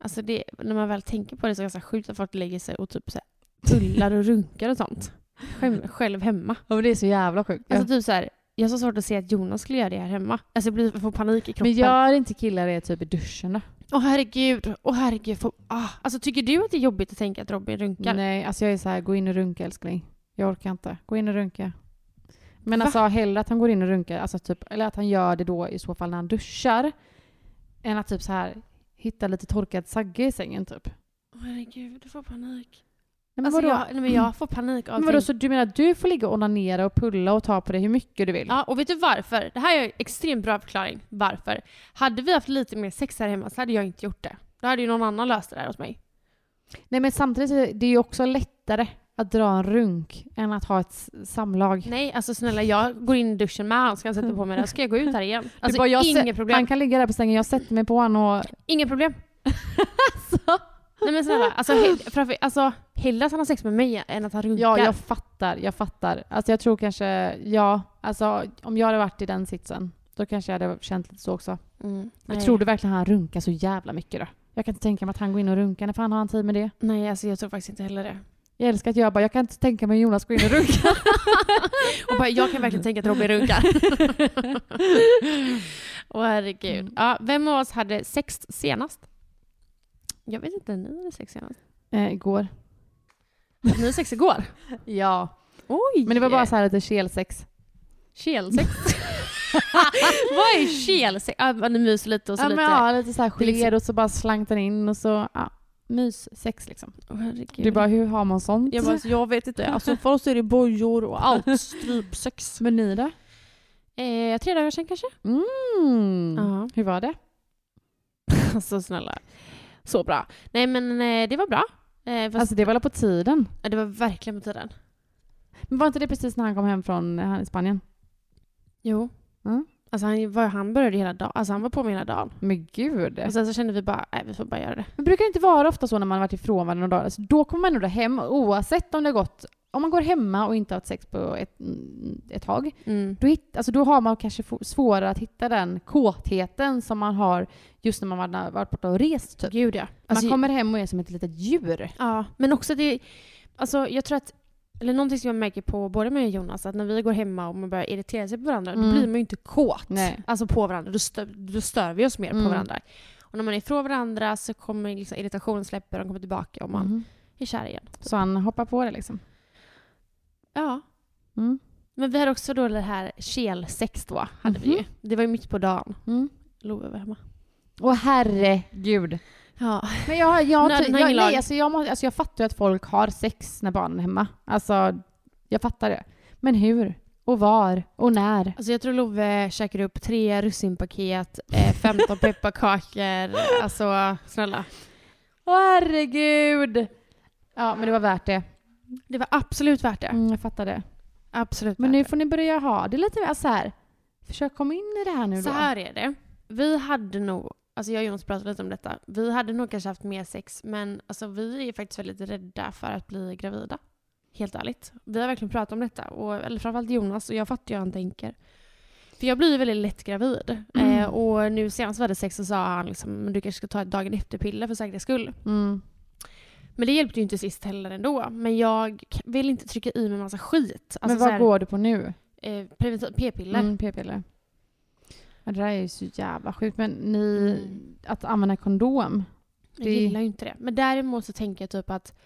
Speaker 5: Alltså det, när man väl tänker på det så är det ganska sjukt att folk lägger sig och typ så här, pullar och runkar och sånt. Själv, själv hemma.
Speaker 4: Ja, men det är så jävla sjukt.
Speaker 5: Alltså typ så här, jag har så svårt att se att Jonas skulle göra det här hemma. Alltså jag, blir, jag får panik i
Speaker 4: men
Speaker 5: kroppen.
Speaker 4: gör inte killar det typ i duschen då?
Speaker 5: Åh herregud, åh herregud. Får, ah. Alltså tycker du att det är jobbigt att tänka att Robin runkar?
Speaker 4: Nej, alltså jag är så här, gå in och runka älskling. Jag orkar inte. Gå in och runka. Men
Speaker 5: Va?
Speaker 4: alltså hellre att han går in och runkar, alltså typ, eller att han gör det då i så fall när han duschar, än att typ så här hitta lite torkad sagge i sängen typ. Nej,
Speaker 5: Åh herregud, du får panik.
Speaker 4: men
Speaker 5: Alltså,
Speaker 4: vadå?
Speaker 5: jag, nej, men jag får panik av
Speaker 4: Men vadå,
Speaker 5: tänk-
Speaker 4: så du menar att du får ligga och onanera och pulla och ta på det hur mycket du vill?
Speaker 5: Ja, och vet du varför? Det här är en extremt bra förklaring. Varför? Hade vi haft lite mer sex här hemma så hade jag inte gjort det. Då hade ju någon annan löst det där åt mig.
Speaker 4: Nej men samtidigt är det ju också lättare att dra en runk än att ha ett s- samlag.
Speaker 5: Nej, alltså snälla jag går in i duschen med han, ska han sätta på mig det, ska jag gå ut här igen. Alltså
Speaker 4: bara, jag
Speaker 5: inga
Speaker 4: ser-
Speaker 5: problem.
Speaker 4: Han kan ligga där på sängen, jag sätter mig på honom och...
Speaker 5: Inga problem. Alltså. Nej men snälla, alltså, hell- framför, alltså hellre att han har sex med mig än att han runkar.
Speaker 4: Ja, jag fattar, jag fattar. Alltså jag tror kanske, ja, alltså om jag hade varit i den sitsen, då kanske jag hade känt lite så också.
Speaker 5: Mm,
Speaker 4: Men
Speaker 5: nej.
Speaker 4: tror du verkligen han runkar så jävla mycket då? Jag kan inte tänka mig att han går in och runkar, när fan har han tid med det?
Speaker 5: Nej, alltså jag tror faktiskt inte heller det.
Speaker 4: Jag älskar att jag bara, jag kan inte tänka mig hur Jonas går in och runkar.
Speaker 5: Och bara, jag kan verkligen tänka att Robin runkar. Åh
Speaker 4: Mm.
Speaker 5: herregud. Ja, vem av oss hade sex senast? Jag vet inte, ni hade sex senast.
Speaker 4: eh, igår.
Speaker 5: Ni hade sex igår?
Speaker 4: Ja.
Speaker 5: Oj!
Speaker 4: Men det var bara så här lite kelsex.
Speaker 5: Kelsex. Vad är kelsex? Ja, men mys lite och så
Speaker 4: Ja,
Speaker 5: lite.
Speaker 4: men ja, lite så här gelé
Speaker 5: liksom-
Speaker 4: och så bara slank den in och så, ja, myssex liksom.
Speaker 5: Åh, herregud.
Speaker 4: Det är bara, hur har man sånt?
Speaker 5: jag, bara, alltså, jag vet inte. Alltså, för oss är det bojor och allt. Strypsex.
Speaker 4: Men ni då?
Speaker 5: Eh, tre dagar sedan kanske?
Speaker 4: Mm.
Speaker 5: Ja.
Speaker 4: Hur var det?
Speaker 5: Alltså snälla. Så bra. Nej men eh, det var bra. Eh, fast,
Speaker 4: Alltså det var väl på tiden?
Speaker 5: ja, det var verkligen på tiden.
Speaker 4: Men var inte det precis när han kom hem från eh, han i Spanien?
Speaker 5: Jo.
Speaker 4: Mm.
Speaker 5: Alltså han, var, han började hela dagen. Alltså han var på mig hela dagen.
Speaker 4: Men gud.
Speaker 5: Och sen så kände vi bara, nej vi får bara göra det.
Speaker 4: Men brukar det inte vara ofta så när man varit ifrån varandra några dagar? Alltså, då kommer man ändå hem oavsett om det har gått... Om man går hemma och inte har haft sex på ett, mm, ett tag, då, hitt, alltså, då har man kanske få- svårare att hitta den kåtheten som man har just när man var- varit borta och rest. Typ.
Speaker 5: Gud ja.
Speaker 4: man kommer hem och är som ett litet djur.
Speaker 5: Ja, men också det... Alltså jag tror att... Eller någonting som jag märker på både mig och Jonas, att när vi går hemma och man börjar irritera sig på varandra,
Speaker 4: Mm.
Speaker 5: då blir man ju inte kåt.
Speaker 4: Nej.
Speaker 5: Alltså på varandra. Då stör, då stör vi oss mer
Speaker 4: Mm.
Speaker 5: på varandra. Och när man är ifrån varandra så kommer liksom irritationen släpper och de kommer tillbaka och man
Speaker 4: Mhm.
Speaker 5: är kär igen.
Speaker 4: Så han hoppar på det liksom.
Speaker 5: Ja.
Speaker 4: Mm.
Speaker 5: Men vi hade också då det här kelsex då. Hade vi ju.
Speaker 4: Mhm.
Speaker 5: Det var ju mitt på dagen.
Speaker 4: Mm.
Speaker 5: Love var hemma.
Speaker 4: Åh herregud.
Speaker 5: Ja.
Speaker 4: Men jag, jag,
Speaker 5: Nöden har
Speaker 4: jag,
Speaker 5: ingen
Speaker 4: nej,
Speaker 5: lag.
Speaker 4: alltså jag, må, alltså jag fattar ju att folk har sex när barnen är hemma. Alltså, jag fattar det. Men hur? Och var? Och när?
Speaker 5: Alltså jag tror Love käkade upp tre russinpaket, eh, 15 pepparkakor. Alltså snälla.
Speaker 4: Åh herregud! Ja, men det var värt det.
Speaker 5: Det var absolut värt det.
Speaker 4: Mm, jag fattar det.
Speaker 5: Absolut
Speaker 4: Men
Speaker 5: värt
Speaker 4: nu
Speaker 5: det.
Speaker 4: får ni börja ha det lite mer så här. Försök komma in i det här nu då.
Speaker 5: Så här är det. Vi hade nog, alltså jag och Jonas pratade lite om detta, vi hade nog kanske haft mer sex men alltså vi är faktiskt väldigt rädda för att bli gravida. Helt ärligt. Vi har verkligen pratat om detta, och, eller framförallt Jonas och jag fattar ju hur han tänker. För jag blir ju väldigt lätt gravid.
Speaker 4: Mm.
Speaker 5: Eh, och nu senast vi hade sex så sa han liksom, "Men du kanske ska ta ett dagen efter-piller för säkerhets skull.
Speaker 4: Mm.
Speaker 5: Men det hjälpte ju inte sist heller ändå. Men jag k- vill inte trycka i mig massa skit. Alltså
Speaker 4: men vad
Speaker 5: så här,
Speaker 4: går du på nu?
Speaker 5: eh, preventiv- P-piller.
Speaker 4: Mm, p-piller. Ja, Det där är ju så jävla sjukt. Men ni,
Speaker 5: Mm.
Speaker 4: att använda kondom.
Speaker 5: Jag
Speaker 4: Det-
Speaker 5: gillar ju inte det. Men däremot så tänker jag typ att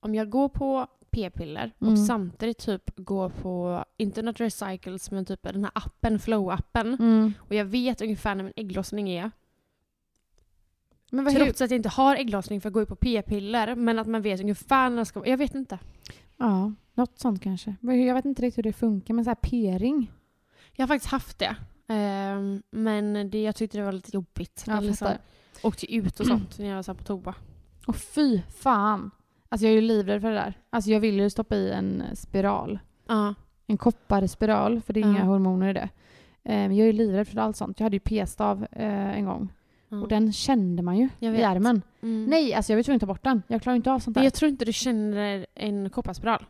Speaker 5: om jag går på p-piller och
Speaker 4: Mm.
Speaker 5: samtidigt typ går på, inte något recycles, men typ den här appen, flow-appen.
Speaker 4: Mm.
Speaker 5: Och jag vet ungefär när min ägglossning är.
Speaker 4: Men vad, hur,
Speaker 5: Trots att jag inte har ägglossning för jag går ju på p-piller, men att man vet ungefär när jag ska Jag vet inte.
Speaker 4: ja, något sånt kanske. Men hur- Jag vet inte riktigt hur det funkar, men så här p-ring.
Speaker 5: Jag har faktiskt haft det. Ehm, men det, jag tyckte det var lite jobbigt.
Speaker 4: Ja,
Speaker 5: Jag liksom
Speaker 4: fattar. Mm.
Speaker 5: åkte ut och sånt när jag var så här på toa.
Speaker 4: Och fy fan. Alltså jag är ju livrädd för det där. Alltså jag vill ju stoppa i en spiral.
Speaker 5: Ja.
Speaker 4: En kopparspiral, för det är
Speaker 5: Ja.
Speaker 4: inga hormoner i det. Eh, Men jag är ju livrädd för allt sånt. Jag hade ju p-stav eh, en gång.
Speaker 5: Mm.
Speaker 4: Och den kände man ju
Speaker 5: Jag
Speaker 4: i
Speaker 5: vet.
Speaker 4: armen.
Speaker 5: Mm.
Speaker 4: Nej, alltså jag var tvungen att ta bort den. Jag klarar inte av sånt
Speaker 5: Men
Speaker 4: där.
Speaker 5: jag tror inte du känner en kopparspiral.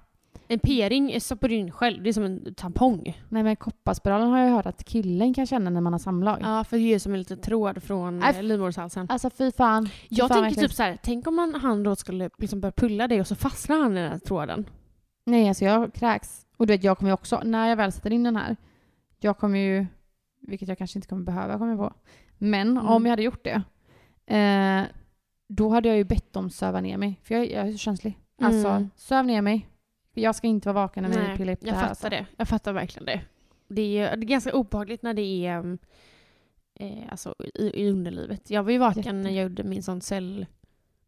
Speaker 5: En p-ring stoppar du in själv. Det är som en tampong.
Speaker 4: Nej men kopparspiralen har jag hört att killen kan känna när man har samlag.
Speaker 5: Ja, för det är som en liten tråd från
Speaker 4: Nej, f-
Speaker 5: eh, livmodershalsen.
Speaker 4: Alltså fy fan. Fy
Speaker 5: Jag tänker
Speaker 4: fan, verkligen.
Speaker 5: typ så här, tänk om man, han då skulle liksom börja pulla dig och så fastnar han i den här tråden.
Speaker 4: Nej alltså jag kräks. Och du vet jag kommer ju också, när jag väl sätter in den här. Jag kommer ju, vilket jag kanske inte kommer behöva kommer jag på. Men
Speaker 5: Mm.
Speaker 4: om jag hade gjort det. Eh, då hade jag ju bett dem söva ner mig. För jag, jag är så känslig. Alltså
Speaker 5: Mm.
Speaker 4: söv ner mig. Jag ska inte vara vaken när vi pillar upp det
Speaker 5: jag
Speaker 4: här.
Speaker 5: fattar
Speaker 4: alltså.
Speaker 5: det. Jag fattar verkligen det. Det är, ju- det är ganska obehagligt när det är um, eh, alltså, i, i underlivet. Jag var ju vaken
Speaker 4: Jätte.
Speaker 5: när jag gjorde min sån cell...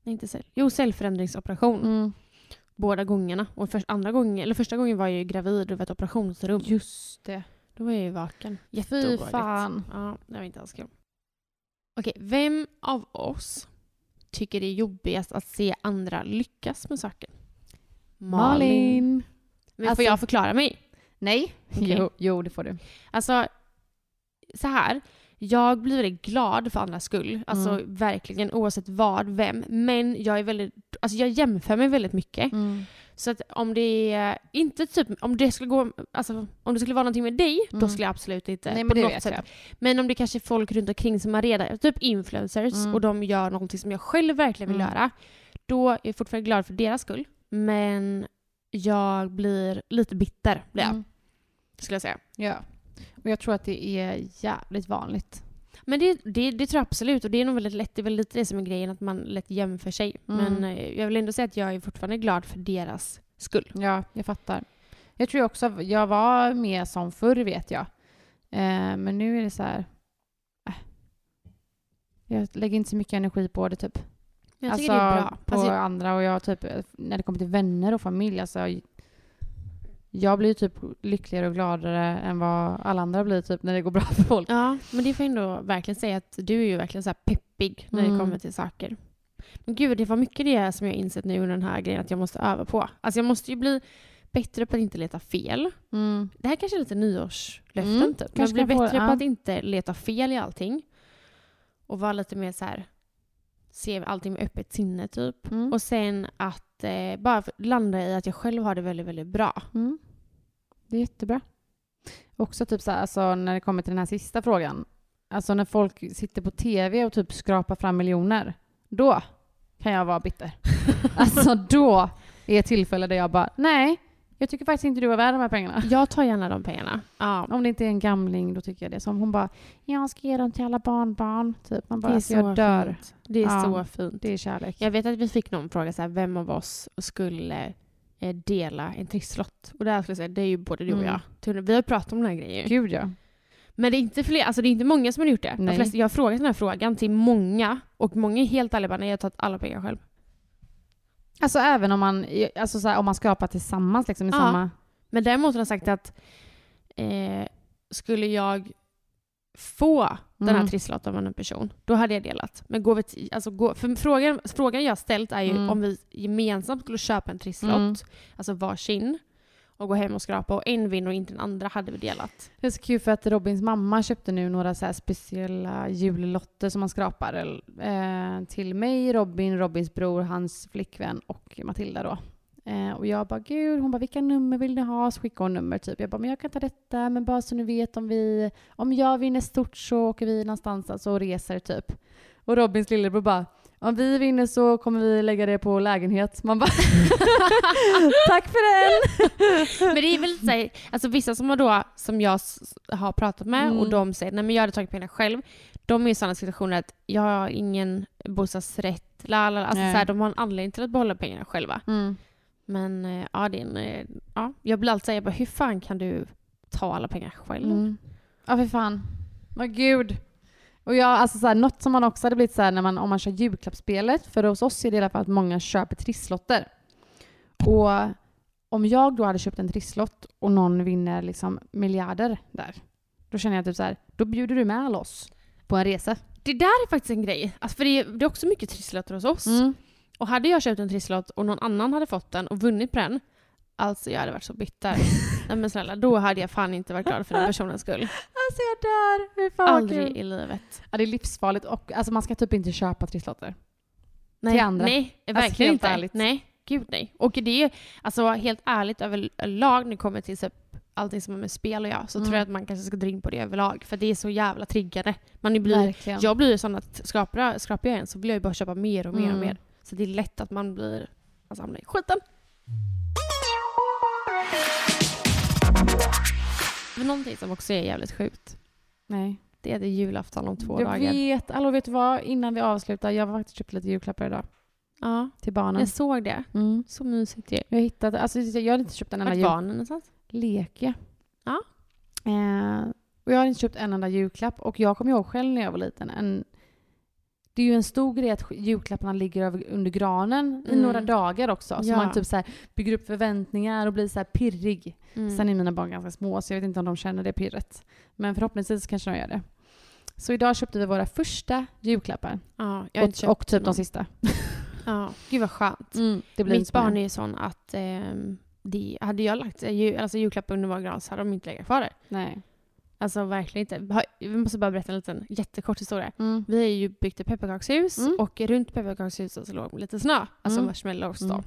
Speaker 5: Nej, inte cell. Jo, cellförändringsoperation.
Speaker 4: Mm.
Speaker 5: Båda gångerna. Och för, andra gången, eller första gången var jag ju gravid och var i ett operationsrum.
Speaker 4: Just det.
Speaker 5: Då var jag ju vaken.
Speaker 4: Fy
Speaker 5: Jätteobehagligt.
Speaker 4: fan.
Speaker 5: Ja, det var inte alls kul. Okej, vem av oss tycker det är jobbigast att se andra lyckas med saker?
Speaker 4: Malin.
Speaker 5: Men
Speaker 4: Alltså-
Speaker 5: får jag förklara mig?
Speaker 4: Nej.
Speaker 5: Okej.
Speaker 4: Jo, jo, det får du.
Speaker 5: Alltså, så här. Jag blir väldigt glad för andras skull. Alltså
Speaker 4: Mm.
Speaker 5: verkligen, oavsett vad, vem. Men jag är väldigt, alltså jag jämför mig väldigt mycket.
Speaker 4: Mm.
Speaker 5: Så att om det är, inte typ, om det skulle gå, alltså om det skulle vara någonting med dig, då
Speaker 4: Mm.
Speaker 5: skulle jag absolut inte
Speaker 4: Nej
Speaker 5: på
Speaker 4: men det
Speaker 5: något
Speaker 4: vet
Speaker 5: sätt
Speaker 4: jag.
Speaker 5: Men om det kanske är folk runt omkring som är redan, typ influencers,
Speaker 4: Mm.
Speaker 5: och de gör någonting som jag själv verkligen vill
Speaker 4: Mm.
Speaker 5: göra, då är jag fortfarande glad för deras skull. Men jag blir lite bitter, blir jag,
Speaker 4: Mm.
Speaker 5: skulle jag säga.
Speaker 4: Ja. Och jag tror att det är jävligt vanligt.
Speaker 5: Men det, det, det tror jag absolut, och det är nog väldigt lätt, det är väl lite det som är grejen, att man lätt jämför sig.
Speaker 4: Mm.
Speaker 5: Men eh, jag vill ändå säga att jag är fortfarande glad för deras skull.
Speaker 4: Ja, jag fattar. Jag tror också att jag var mer som förr vet jag. Eh, men nu är det så här... Äh. Jag lägger inte så mycket energi på det typ.
Speaker 5: Jag tycker det är bra.
Speaker 4: på
Speaker 5: Alltså,
Speaker 4: andra och jag typ, när det kommer till vänner och familj, alltså jag blir typ lyckligare och gladare än vad alla andra blir typ när det går bra för folk.
Speaker 5: Ja, men det får jag ändå verkligen säga att du är ju verkligen så här peppig när
Speaker 4: Mm.
Speaker 5: det kommer till saker. Men gud, det var mycket det är som jag insett nu under den här grejen att jag måste öva på. Alltså jag måste ju bli bättre på att inte leta fel.
Speaker 4: Mm.
Speaker 5: Det här kanske är lite nyårslöften
Speaker 4: Mm,
Speaker 5: typ. Men
Speaker 4: kanske
Speaker 5: bli
Speaker 4: kan få-
Speaker 5: bättre
Speaker 4: ja.
Speaker 5: på att inte leta fel i allting. Och vara lite mer så här se allting med öppet sinne typ.
Speaker 4: Mm.
Speaker 5: Och sen att eh, bara landa i att jag själv har det väldigt, väldigt bra.
Speaker 4: Mm. Det är jättebra. Också typ så här, alltså, när det kommer till den här sista frågan. Alltså när folk sitter på tv och typ skrapar fram miljoner. Då kan jag vara bitter. alltså då är ett tillfälle där jag bara, nej, jag tycker faktiskt inte du är värd de här pengarna.
Speaker 5: Jag tar gärna de pengarna. Ja.
Speaker 4: Om det inte är en gamling, då tycker jag det. Som hon bara, jag ska ge dem till alla barnbarn. Typ. Man
Speaker 5: Det
Speaker 4: bara,
Speaker 5: är
Speaker 4: alltså,
Speaker 5: så
Speaker 4: jag dör.
Speaker 5: fint. Det är
Speaker 4: Ja.
Speaker 5: så fint.
Speaker 4: Det är kärlek.
Speaker 5: Jag vet att vi fick någon fråga så här, vem av oss skulle eh, dela en trisslott? Och där skulle jag säga, det är ju både du och
Speaker 4: Mm.
Speaker 5: jag. Tunne- Vi har ju pratat om den här grejen. ju.
Speaker 4: Gud ja.
Speaker 5: Men det är inte fler, alltså det är inte många som har gjort det. De
Speaker 4: Nej.
Speaker 5: flesta, jag har frågat den här frågan till många och många är helt ärliga bara, nej jag har tagit alla pengar själv.
Speaker 4: Alltså även om man, alltså, så här, om man skrapar tillsammans liksom, i
Speaker 5: Ja.
Speaker 4: samma...
Speaker 5: Men däremot har de sagt att eh, skulle jag få den här
Speaker 4: Mm.
Speaker 5: trisslotten av en person, då hade jag delat. Men går vi till, alltså går, för frågan, frågan jag har ställt är ju
Speaker 4: Mm.
Speaker 5: om vi gemensamt skulle köpa en trisslott,
Speaker 4: Mm.
Speaker 5: alltså varsin, och gå hem och skrapa och en vinner och inte den andra hade vi delat.
Speaker 4: Det är så kul för att Robins mamma köpte nu några så här speciella jullotter som man skrapar eh, till mig, Robin, Robins bror, hans flickvän och Matilda då. Eh, och jag bara gud, hon bara vilka nummer vill ni ha? Så skickade hon nummer typ. Jag bara men jag kan ta detta men bara så ni vet om vi, om jag vinner stort så åker vi någonstans alltså, och reser typ. Och Robins lillebror bara om vi vinner så kommer vi lägga det på lägenhet. Man bara tack för den!
Speaker 5: Men det är väl lite så här, alltså vissa som, har då, som jag s- har pratat med
Speaker 4: Mm.
Speaker 5: och de säger nej men jag hade tagit pengarna själv. De är i sådana situationer att jag har ingen bostadsrätt, la, la, la. Alltså
Speaker 4: Nej.
Speaker 5: så här, de har en anledning till att behålla pengarna själva.
Speaker 4: Mm.
Speaker 5: Men eh, ja, det är en, eh, ja. jag blir alltid såhär, jag bara, hur fan kan du ta alla pengar själv?
Speaker 4: Mm. Ja, för fan. Vad gud. Och jag, alltså så här, något som man också hade blivit så här när man, om man kör julklappsspelet, för hos oss är det i alla fall att många köper trisslotter. Och om jag då hade köpt en trisslott och någon vinner liksom miljarder där, då känner jag typ så här, då bjuder du med alla oss på en resa.
Speaker 5: Det där är faktiskt en grej. Alltså, för det är, det är också mycket trisslotter hos oss.
Speaker 4: Mm.
Speaker 5: Och hade jag köpt en trisslott och någon annan hade fått den och vunnit på den, alltså jag hade varit så bitter. Nej men snälla, då hade jag fan inte varit glad för den personens skull.
Speaker 4: Alltså jag dör! Hur fan
Speaker 5: Aldrig i livet.
Speaker 4: Ja, det är livsfarligt och alltså man ska typ inte köpa trisslotter.
Speaker 5: Nej,
Speaker 4: Till andra. Alltså,
Speaker 5: nej verkligen
Speaker 4: helt
Speaker 5: inte.
Speaker 4: ärligt.
Speaker 5: Nej, gud nej. Och det är ju, alltså helt ärligt överlag när det kommer till typ allting som har med spel och göra, så
Speaker 4: Mm.
Speaker 5: tror jag att man kanske ska dra in på det överlag. För det är så jävla triggande. Man blir
Speaker 4: Verkligen.
Speaker 5: Jag blir ju sån att skrapar, skrapar jag en så vill jag ju bara köpa mer och mer
Speaker 4: Mm.
Speaker 5: och mer. Så det är lätt att man blir, alltså hamnar i skiten. Men någonting som också är jävligt sjukt,
Speaker 4: Nej.
Speaker 5: det är det julafton om två
Speaker 4: jag
Speaker 5: dagar.
Speaker 4: vet. Alltså vet du vad? Innan vi avslutar, jag har faktiskt köpt lite julklappar idag
Speaker 5: Ja,
Speaker 4: till barnen.
Speaker 5: jag såg det.
Speaker 4: Mm.
Speaker 5: Så mysigt ju.
Speaker 4: Jag har hittat, alltså jag har inte köpt en enda
Speaker 5: Vart
Speaker 4: jul...
Speaker 5: var ni någonstans?
Speaker 4: Leke.
Speaker 5: Ja.
Speaker 4: Eh, och jag har inte köpt en enda julklapp och jag kommer ihåg själv när jag var liten. En, det är ju en stor grej att sk- julklapparna ligger över, under granen i
Speaker 5: Mm.
Speaker 4: några dagar också. Så
Speaker 5: Ja.
Speaker 4: man typ så här bygger upp förväntningar och blir så här pirrig.
Speaker 5: Mm.
Speaker 4: Sen är mina barn ganska små så jag vet inte om de känner det pirret. Men förhoppningsvis kanske de gör det. Så idag köpte vi våra första julklappar.
Speaker 5: ja, jag har inte
Speaker 4: Och,
Speaker 5: köpt
Speaker 4: och typ de
Speaker 5: någon.
Speaker 4: sista.
Speaker 5: Ja, gud vad skönt.
Speaker 4: Mm, Det blir
Speaker 5: Mitt
Speaker 4: inte så många.
Speaker 5: barn är ju sån att ehm, de, hade jag lagt eh, ju, alltså julklappar under vår gran så hade de inte legat kvar där.
Speaker 4: Nej.
Speaker 5: Alltså verkligen inte. Ha- Vi måste bara berätta en liten jättekort historia.
Speaker 4: Mm.
Speaker 5: Vi har ju byggt ett pepparkakshus
Speaker 4: Mm.
Speaker 5: och runt pepparkakshuset så låg lite snö, alltså
Speaker 4: Mm.
Speaker 5: marshmallows då.
Speaker 4: Mm.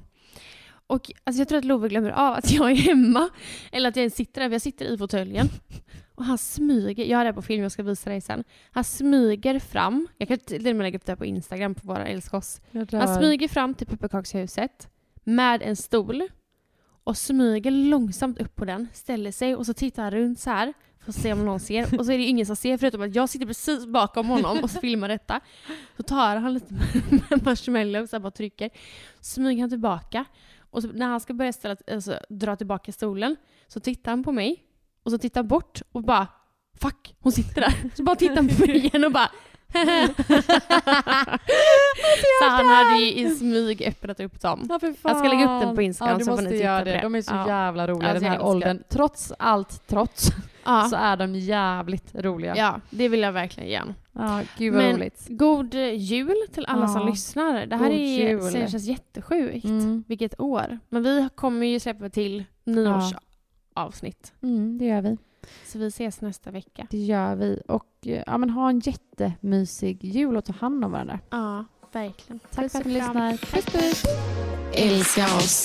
Speaker 5: Och alltså, jag tror att Love glömmer av att jag är hemma, eller att jag ens sitter där, för jag sitter i fåtöljen. Och han smyger, jag har det här på film, jag ska visa dig sen. Han smyger fram, jag kan till och med lägga upp det här på Instagram på våra älska oss. Han smyger fram till pepparkakshuset med en stol och smyger långsamt upp på den, ställer sig och så tittar han runt så här för att se om någon ser. Och så är det ju ingen som ser förutom att jag sitter precis bakom honom och filmar detta. Så tar han lite med marshmallows och bara trycker. Smyger han tillbaka Och så, när han ska börja ställa, alltså, dra tillbaka stolen så tittar han på mig och så tittar han bort och bara Fuck, hon sitter där. Så bara tittar han på mig igen och bara Så han hade ju i smyg öppnat upp dem.
Speaker 4: Ja, för
Speaker 5: Jag ska lägga upp den
Speaker 4: fan.
Speaker 5: på Instagram
Speaker 4: ja, du
Speaker 5: så får
Speaker 4: måste
Speaker 5: ni titta
Speaker 4: göra
Speaker 5: på
Speaker 4: det.
Speaker 5: det.
Speaker 4: De är så
Speaker 5: Ja.
Speaker 4: jävla roliga
Speaker 5: Alltså,
Speaker 4: den
Speaker 5: jag
Speaker 4: här
Speaker 5: älskar
Speaker 4: åldern. Trots allt trots
Speaker 5: Ja.
Speaker 4: så är de jävligt roliga.
Speaker 5: ja, det vill jag verkligen ge honom.
Speaker 4: Ja, gud vad
Speaker 5: Men-
Speaker 4: roligt.
Speaker 5: God eh, jul till alla
Speaker 4: Ja.
Speaker 5: som lyssnar. Det här
Speaker 4: God
Speaker 5: är,
Speaker 4: jul.
Speaker 5: ser- känns jättesjukt.
Speaker 4: Mm.
Speaker 5: Vilket år. Men vi kommer ju släppa till nyårsavsnitt.
Speaker 4: Mm, det gör vi.
Speaker 5: Så vi ses nästa vecka.
Speaker 4: Det gör vi. Och eh, ja, men ha en jättemysig jul och ta hand om varandra.
Speaker 5: Ja, verkligen.
Speaker 4: Tack för att ni
Speaker 5: och kram.
Speaker 4: lyssnar. Puss puss!
Speaker 6: Älska oss.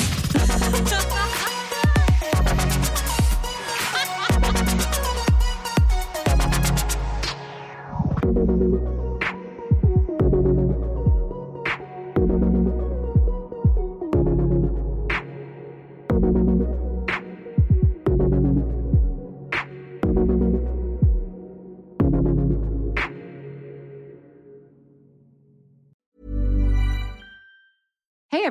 Speaker 1: Hey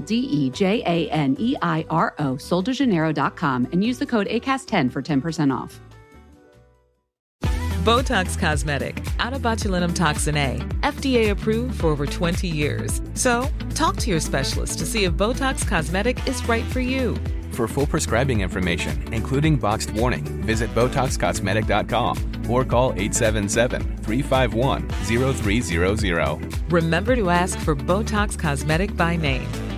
Speaker 1: D E J A N E I R O, soldejaneiro.com, and use the code ACAST10 for 10% off.
Speaker 2: Botox Cosmetic, out of botulinum toxin A, FDA approved for over 20 years. So, talk to your specialist to see if Botox Cosmetic is right for you.
Speaker 3: For full prescribing information, including boxed warning, visit BotoxCosmetic.com or call 877-351-0300.
Speaker 2: Remember to ask for Botox Cosmetic by name.